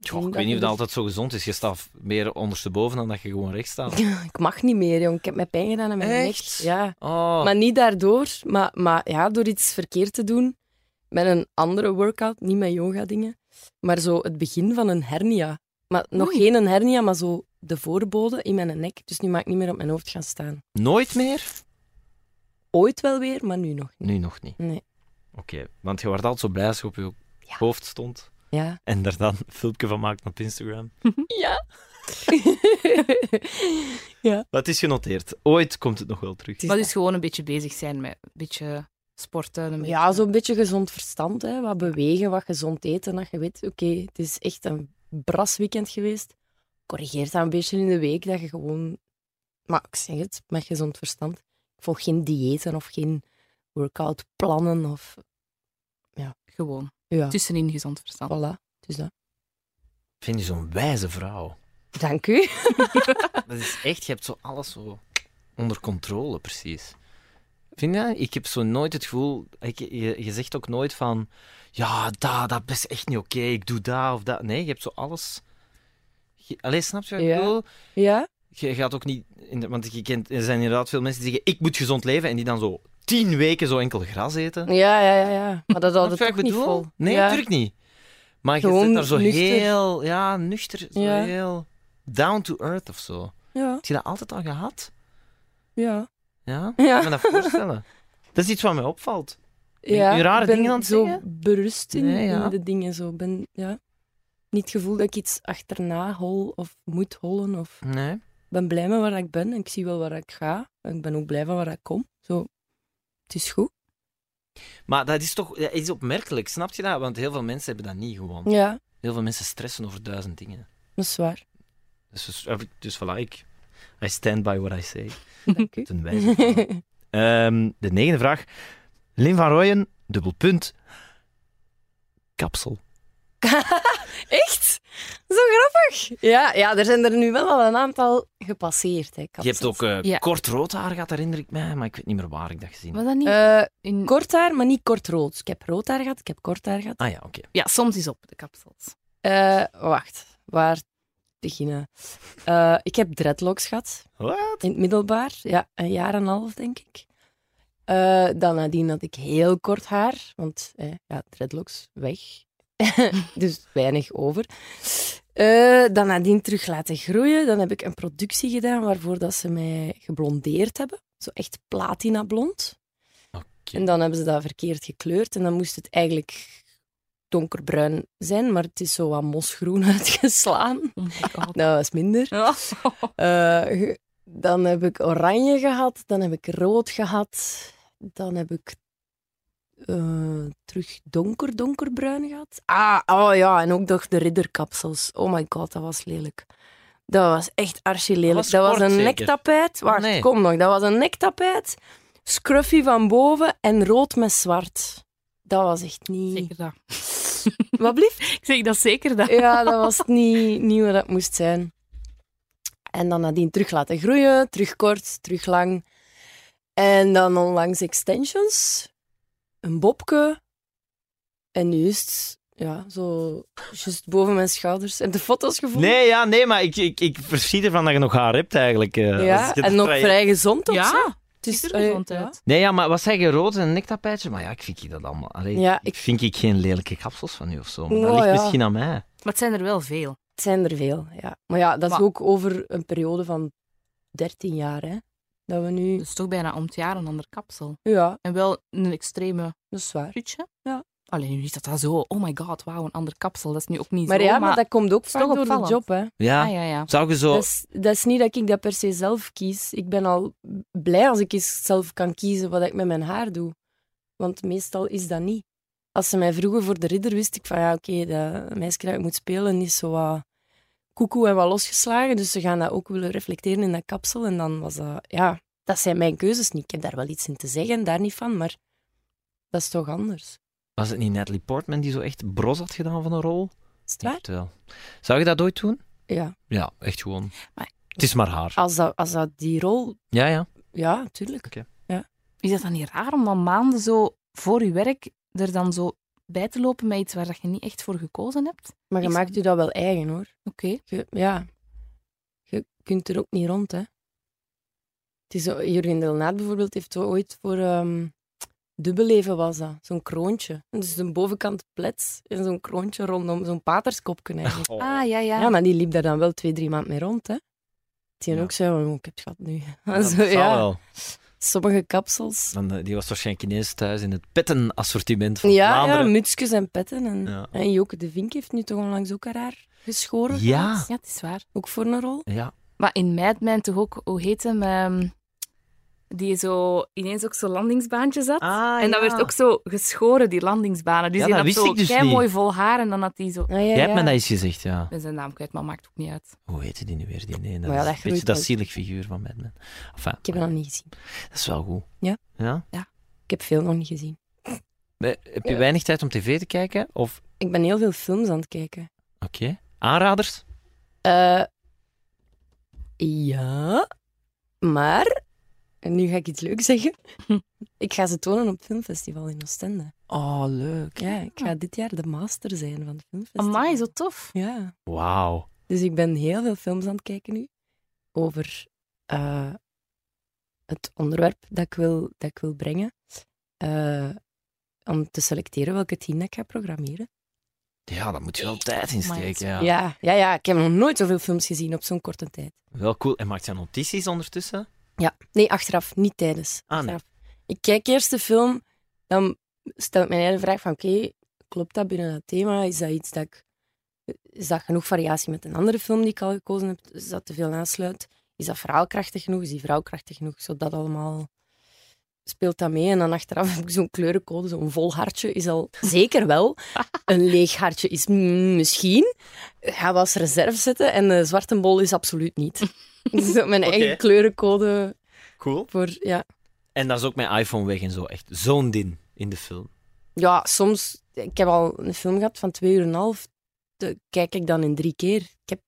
Tjoh, ik weet niet of dat altijd zo gezond is. Je staat meer ondersteboven dan dat je gewoon rechts staat.
Ik mag niet meer, jong. Ik heb mij pijn gedaan aan mijn
Echt?
nek. Ja.
Oh,
Maar niet daardoor, maar, maar ja, door iets verkeerd te doen. Met een andere workout, niet met yoga-dingen. Maar zo het begin van een hernia. Maar nog
Oei.
geen een hernia, maar zo de voorbode in mijn nek. Dus nu mag ik niet meer op mijn hoofd gaan staan.
nooit meer?
Ooit wel weer, maar nu nog niet.
Nu nog niet.
Nee.
Oké, want je werd altijd zo blij als je op je
Ja.
hoofd stond.
Ja.
En daar dan een filmpje van maakt op Instagram.
Ja.
Maar het is genoteerd. Ooit komt het nog wel terug.
Maar dus gewoon een beetje bezig zijn met een beetje sporten. Een beetje...
ja, zo'n beetje gezond verstand. Hè. Wat bewegen, wat gezond eten. Dat je weet, oké, het is echt een brasweekend geweest. Corrigeer dat een beetje in de week, dat je gewoon... Maar ik zeg het, met gezond verstand. Ik volg geen diëten of geen workoutplannen of...
Gewoon.
Ja,
Tussenin gezond verstand.
voilà. Dus dat.
Ik vind je zo'n wijze vrouw.
Dank u.
Dat is echt, je hebt zo alles zo onder controle, precies. Vind je? Ik heb zo nooit het gevoel... Ik, je, je zegt ook nooit van... Ja, dat, dat is echt niet oké. ik doe dat of dat. Nee, je hebt zo alles... Je- Allee, snap je wat ik
Ja.
bedoel?
Ja?
Je gaat ook niet... in de- Want je kent, er zijn inderdaad veel mensen die zeggen... Ik moet gezond leven. En die dan zo tien weken zo enkel gras eten.
Ja, ja, ja. ja. Maar
Snap
dat houdt
je
het
wat
toch
ik
niet
bedoel?
vol.
Nee,
ja.
natuurlijk niet. Maar je
Gewoon
zit daar zo
nuchter.
heel... Ja, nuchter. Zo
Ja.
heel... Down to earth of zo.
Ja,
Heb je dat altijd al gehad?
ja.
Ja?
Ja.
Ik kan me dat voorstellen. Dat is iets wat mij opvalt. je
ja.
rare
ik ben
dingen aan het
zo
zeggen?
berust in,
Nee, ja.
in de dingen. Zo. Ik ben ja, niet het gevoel dat ik iets achterna hol of moet hollen. Of...
Nee.
Ik ben blij met waar ik ben en ik zie wel waar ik ga. En ik ben ook blij van waar ik kom. Zo. Het is goed.
Maar dat is toch dat is opmerkelijk, snap je dat? Want heel veel mensen hebben dat niet gewoon.
Ja,
Heel veel mensen stressen over duizend dingen.
dat is waar.
Dus, dus, dus voilà, ik... I stand by what I say.
Dank u.
Ten wijze. Ehm, de negende vraag. Lin van Rooyen, dubbel punt. Kapsel.
Echt? Zo grappig. Ja, ja, er zijn er nu wel al een aantal gepasseerd. Hè,
Je hebt ook eh,
Ja.
kort rood haar gehad, herinner ik mij. Maar ik weet niet meer waar ik dat gezien heb.
Was dat niet?
Eh,
in...
kort haar, maar niet kort rood. Ik heb rood haar gehad, ik heb kort haar gehad.
Ah ja, oké.
Ja, soms is op de kapsels.
Eh, wacht, waar beginnen? Eh, ik heb dreadlocks gehad.
Wat?
In het middelbaar, ja, een jaar en een half, denk ik. Eh, dan nadien had ik heel kort haar, want eh, ja, dreadlocks weg. dus weinig over. Eh, dan nadien terug laten groeien. Dan heb ik een productie gedaan waarvoor dat ze mij geblondeerd hebben. Zo echt platina blond. En dan hebben ze dat verkeerd gekleurd. En dan moest het eigenlijk donkerbruin zijn, maar het is zo wat mosgroen uitgeslaan.
Oh my god.
Nou, dat is minder. Eh, ge- dan heb ik oranje gehad, dan heb ik rood gehad, dan heb ik eh, terug donker, donkerbruin gehad. Ah, oh ja, en ook nog de ridderkapsels. Oh my god, dat was lelijk. Dat was echt archi lelijk.
was
Dat was,
kort,
een
zeker?
nektapijt. Wacht,
Nee.
kom nog. Dat was een nektapijt, scruffy van boven en rood met zwart. Dat was echt niet...
Zeker dat.
Wat blieft?
Ik zeg dat zeker dat.
Ja, dat was niet, niet wat dat moest zijn. En dan nadien terug laten groeien, terug kort, terug lang. En dan onlangs extensions, een bobke. En nu is het, ja, zo just boven mijn schouders. En de foto's gevoeld.
Nee, ja, nee, maar ik, ik, ik verschiet ervan dat je nog haar hebt eigenlijk. eh, als
ja,
je
en nog
vrij-
vrij gezond ook. zo.
ja.
Het is
ziet er
eh,
gezond
ja.
uit.
Nee, ja, maar wat zeg je, rood en een nektapijtje? Maar ja, ik vind je dat allemaal. Allee,
Ja,
ik... Vind ik geen lelijke kapsels van u of zo. Maar dat
Oh,
ligt
ja.
misschien aan mij.
Maar het zijn er wel veel.
Het zijn er veel, ja. Maar ja, dat is
Maar-
ook over een periode van 13 jaar, hè. Dat we nu...
Dus toch bijna om het jaar een ander kapsel.
Ja,
En wel een extreme
dat is waar.
rutje.
Ja.
Alleen nu is dat dan zo. Oh my god, wauw, een ander kapsel. Dat is nu ook niet
Maar
zo.
ja, maar dat komt ook
is
vaak
toch
door de
opvallend.
job, hè.
Ja.
Ah, ja, ja.
Zou je zo.
Dat is, dat is niet dat ik dat per se zelf kies. Ik ben al blij als ik eens zelf kan kiezen wat ik met mijn haar doe. Want meestal is dat niet. Als ze mij vroegen voor de ridder, wist ik van ja, oké, dat meisje dat ik moet spelen is zo wat koekoe en wat losgeslagen. Dus ze gaan dat ook willen reflecteren in dat kapsel. En dan was dat, ja, dat zijn mijn keuzes niet. Ik heb daar wel iets in te zeggen, daar niet van, maar dat is toch anders.
Was het niet Natalie Portman die zo echt bros had gedaan van een rol?
Is het
Ik
waar?
het wel. Zou je dat ooit doen?
Ja.
Ja, echt gewoon.
Maar-
Het is maar haar.
Als dat, als dat die rol,
Ja, ja.
ja, tuurlijk.
Is dat dan niet raar om dan maanden zo voor je werk er dan zo bij te lopen met iets waar dat je niet echt voor gekozen hebt?
Maar je
Is-
maakt je dat wel eigen hoor.
Oké.
Je, ja, je kunt er ook niet rond, hè. Het is, zo- Jurgen Delnaat bijvoorbeeld heeft zo ooit voor ehm dubbeleven was dat, zo'n kroontje. En Dus de bovenkant plets en zo'n kroontje rondom, zo'n paterskopje eigenlijk.
Ah, ja, ja.
Ja, maar die liep daar dan wel twee, drie maanden mee rond, hè. Die
Ja.
ook zei, oh, ik heb het gehad nu.
Dat
Zo,
zal
ja.
wel.
Sommige kapsels.
Want, eh, die was waarschijnlijk ineens thuis in het pettenassortiment van
Ja, ja,
Vlaanderen.
mutsjes en petten. En,
Ja.
en Joke de Vink heeft nu toch onlangs ook haar haar geschoren.
Ja.
Ja, het is waar.
Ook voor een rol. Ah,
ja.
Maar in Mad Men toch ook, hoe heet hem, ehm, die zo ineens ook zo'n landingsbaantje zat.
Ah,
en dat
ja.
werd ook zo geschoren, die landingsbanen. Dus
Ja,
die
dat
had
wist
zo
ik dus
mooi
niet.
vol haar en dan had hij zo...
Ah, ja,
Jij hebt
ja.
me dat eens gezegd, ja.
Ik ben zijn naam kwijt, maar maakt ook niet uit.
Hoe heette die nu weer? Die nee, dat
Maar
is
ja, dat
een beetje
groeit
dat
ook.
zielig figuur van Mad Men. Enfin,
Ik heb dat nog niet gezien.
dat is wel goed.
Ja.
ja?
Ik heb veel nog niet gezien.
Maar Heb je weinig tijd om tv te kijken? Of,
Ik ben heel veel films aan het kijken.
oké, aanraders?
Eh, ja, maar En nu ga ik iets leuks zeggen. ik ga ze tonen op het filmfestival in Oostende.
Oh, leuk.
Ja, ik ga dit jaar de master zijn van het filmfestival.
Amai, zo tof.
Ja.
Wauw.
Dus ik ben heel veel films aan het kijken nu over eh, het onderwerp dat ik wil, dat ik wil brengen. Eh, om te selecteren welke team dat ik ga programmeren.
Ja, daar moet je wel tijd in
Maar het-
steken. Ja.
Ja. Ja, ja, ik heb nog nooit zoveel films gezien op zo'n korte tijd.
Wel cool. En maakt zijn notities ondertussen?
Ja, nee, achteraf, niet tijdens.
Ah, nee.
Achteraf. Ik kijk eerst de film, dan stel ik mijn eigen vraag van oké, klopt dat binnen dat thema? Is dat iets dat ik... Is dat genoeg variatie met een andere film die ik al gekozen heb? Is dat te veel aansluit? Is dat verhaalkrachtig genoeg? Is die verhaalkrachtig genoeg? Zo dat allemaal speelt dat mee. En dan achteraf heb ik zo'n kleurencode, zo'n vol hartje is al zeker wel. Een leeg hartje is mm, misschien. Ga wel als reserve zetten en de zwarte bol is absoluut niet. Dus dat mijn eigen
Oké.
kleurencode
Cool.
voor, ja.
En dat is ook mijn iPhone weg en zo. Echt zo'n ding in de film.
ja, soms... Ik heb al een film gehad van twee uur en een half. De- kijk ik dan in drie keer. Ik, heb,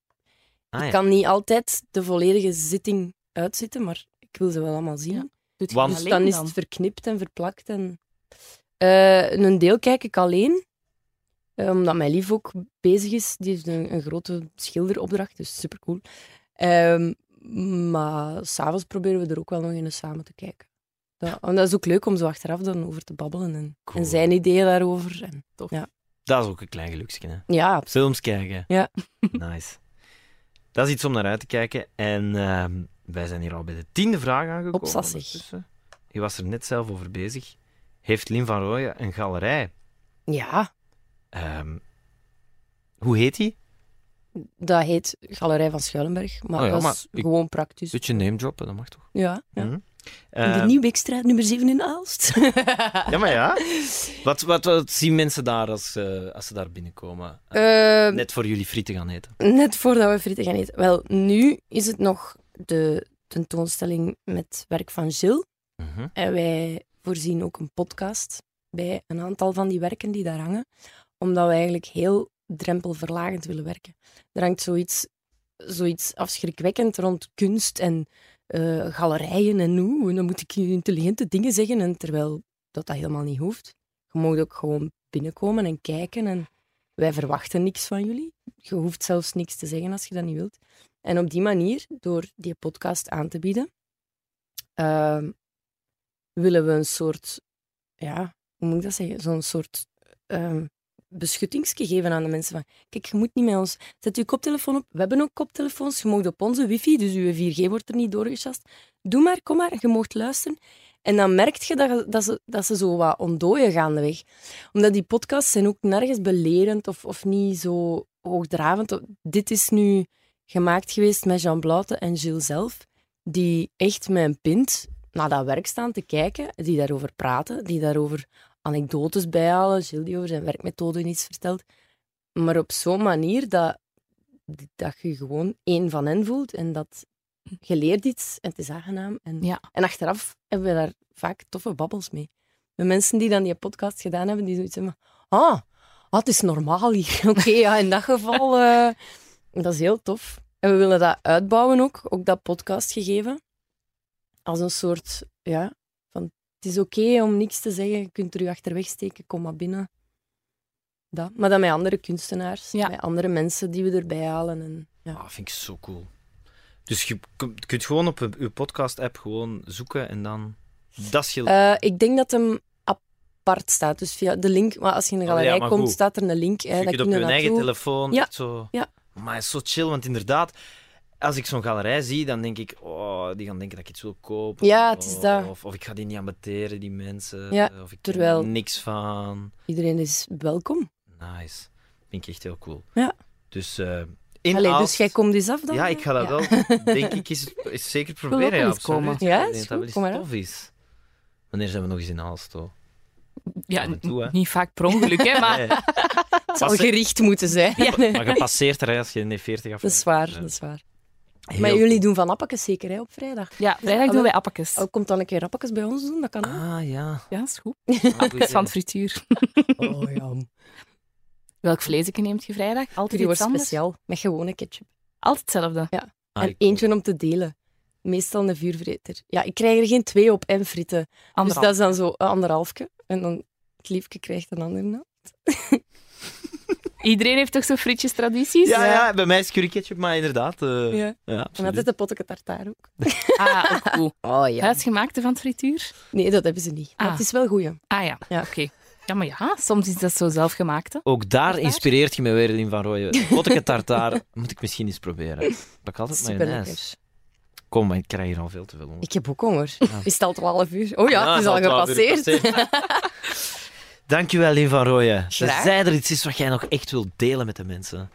Ah, ja.
ik kan niet altijd de volledige zitting uitzitten, maar ik wil ze wel allemaal zien.
Ja, Doet je
Want-
dat
dus
alleen
dan is het verknipt en verplakt. En, Eh, een deel kijk ik alleen, eh, omdat mijn lief ook bezig is. Die heeft een, een grote schilderopdracht, dus supercool. Ehm maar s'avonds proberen we er ook wel nog eens samen te kijken. Dat, en dat is ook leuk om zo achteraf dan over te babbelen en,
Cool.
en zijn ideeën daarover. En,
Dat is ook een klein geluksje. Hè?
ja, absoluut.
Films kijken.
Ja.
Nice. Dat is iets om naar uit te kijken. En ehm, wij zijn hier al bij de tiende vraag aangekomen.
Opsassig.
ondertussen. Je was er net zelf over bezig. Heeft Lin van Rooyen een galerij?
Ja,
Ehm, hoe heet die?
dat heet Galerij van Schuilenberg, maar
Oh ja,
dat
maar
is
ik-
gewoon praktisch.
Zit je name droppen? Dat mag toch?
Ja, ja.
Mhm.
In de
Ehm,
Nieuwbeekstraat, nummer 7 in Aalst.
Ja, maar ja. Wat, wat, wat zien mensen daar als, eh, als ze daar binnenkomen?
Ehm,
Net voor jullie frieten gaan eten.
Net voordat we frieten gaan eten. Wel, nu is het nog de tentoonstelling met werk van Gilles.
Mhm.
En wij voorzien ook een podcast bij een aantal van die werken die daar hangen. Omdat we eigenlijk heel drempelverlagend willen werken. Er hangt zoiets, zoiets afschrikwekkend rond kunst en eh, galerijen en hoe. En dan moet ik hier intelligente dingen zeggen. En terwijl dat dat helemaal niet hoeft. Je mag ook gewoon binnenkomen en kijken. En wij verwachten niks van jullie. Je hoeft zelfs niks te zeggen als je dat niet wilt. En op die manier, door die podcast aan te bieden, ehm, willen we een soort, ja, hoe moet ik dat zeggen, zo'n soort ehm beschuttingsje geven aan de mensen. Van, kijk, je moet niet met ons... Zet uw koptelefoon op. We hebben ook koptelefoons. Je mag op onze wifi, dus uw 4G wordt er niet doorgesjast. Doe maar, kom maar, je mag luisteren. En dan merk je dat, dat, ze, dat ze zo wat ontdooien gaandeweg. Omdat die podcasts zijn ook nergens belerend of, of niet zo hoogdravend. Dit is nu gemaakt geweest met Jean Blaute en Gilles zelf, die echt met een pint naar dat werk staan te kijken, die daarover praten, die daarover anekdotes bijhalen, Gilles die over zijn werkmethode iets vertelt. Maar op zo'n manier dat, dat je gewoon één van hen voelt en dat je leert iets en het is aangenaam. En,
Ja.
en achteraf hebben we daar vaak toffe babbels mee. De mensen die dan die podcast gedaan hebben, die zoiets hebben van, ah, ah, het is normaal hier. Oké, ja, in dat geval... eh, dat is heel tof. En we willen dat uitbouwen ook, ook dat podcastgegeven. Als een soort, ja, van het is oké om niks te zeggen, je kunt er je achter wegsteken, kom maar binnen. Dat. Maar dan met andere kunstenaars,
Ja.
met andere mensen die we erbij halen. En, ja.
Ah, vind ik zo cool. Dus je kun- kunt gewoon op je- je podcast-app gewoon zoeken en dan... Dat is heel...
Eh, ik denk dat hem apart staat, dus via de link. Maar als je in de
Oh ja,
galerij
maar
komt,
goed.
staat er een link. Hè,
je
dat
kunt op
kun
je
je
eigen
naartoe.
telefoon
Ja,
echt zo...
ja.
Maar het is zo chill, want inderdaad... Als ik zo'n galerij zie, dan denk ik... Oh, die gaan denken dat ik iets wil kopen.
Ja, het is dat.
Of, of ik ga die niet ambeteren, die mensen.
Ja,
of ik
terwijl-
er niks van.
Iedereen is welkom.
Nice. Vind ik echt heel cool.
Ja.
Dus eh, in
Allee, dus
Aalst-
jij komt eens af dan?
Ja, ik ga dat
Ja.
wel, denk ik, is, is zeker proberen.
ook wel
ja,
eens komen.
absoluut.
Ja,
Ik denk dat
is
dat
goed,
wel eens
kom maar
tof is. Wanneer zijn we nog eens in Aalsto?
Ja,
Af en toe, hè.
niet vaak per ongeluk, hè, maar...
Nee.
Het zal
Pas-
gericht moeten zijn. Ja, nee.
Maar je passeert er hè, als je in de 40 af.
Dat is waar, dat is waar. Maar jullie doen van appakes zeker hè, op vrijdag.
Ja, vrijdag doen wij appakjes.
Oh, komt dan een keer appakes bij ons doen? Dat kan ook.
Ah, ja. Ah,
Ja, is goed.
Appeltjes
Van frituur.
Ah,
Oh ja.
Welk vleesje neemt je vrijdag? Altijd
Die
iets
wordt
anders.
speciaal, met gewone ketchup.
Ah,
Altijd hetzelfde.
en eentje om te delen. meestal een vuurvreter. Ja, ik krijg er geen twee op en fritten. Dus dat
Anderhalf.
is dan zo een anderhalfje. En dan het liefje krijgt een ander naam.
Iedereen heeft toch zijn frietjes tradities?
Ja, ja, bij mij is curry ketchup, maar inderdaad. eh, ja.
Ja. En
absoluut.
altijd de potje tartaar ook.
Ah, ook goed.
Oh ja.
Huisgemaakte van het frituur?
Nee, dat hebben ze niet. Maar
Ah.
het is wel goeie.
Ah ja,
Ja.
oké. Ja, maar ja, soms is dat zo zelfgemaakte.
Ook daar
Tartaar?
inspireert je me weer, Lin van Rooyen. Potteke tartaar moet ik misschien eens proberen. Ik pak altijd
Superlekker.
mayonaise. Kom, maar ik krijg hier al veel te veel honger.
Ik heb ook honger. Is het al 12 uur? Oh ja,
Ah,
het is al
het twaalf uur
gepasseerd.
gepasseerd. Dankjewel, Lin van Rooyen.
Graag.
Zij er iets is wat jij nog echt wilt delen met de mensen.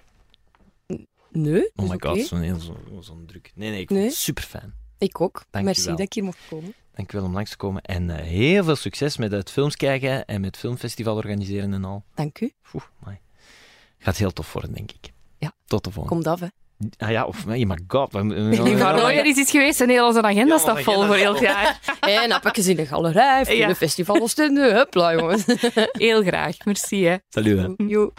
Nee, dat
Oh
is
my
oké.
god, zo'n heel- zo'n zo'n druk. Nee, nee, ik
Nee.
vond het super fijn.
Ik ook.
Dank je
Merci
wel.
dat ik hier mocht komen.
Dankjewel om langs te komen en eh, heel veel succes met het films kijken en met filmfestival organiseren en al.
Dank u.
Oeh, my. Gaat heel tof worden, denk ik.
Ja.
Tot de volgende.
Komt af, hè.
Ah ja, of nee, maar god. we- we- we-
Lieve
waarom-
Royer is iets geweest en heel onze agenda
Ja,
staat
onze
vol
agenda
voor
is
heel
vol.
graag.
En appetjes Eh, in de galerij, voor
Ja.
de festival Oostende. Huppla, jongens.
Heel graag, merci hè.
Salut. hè.
Jo.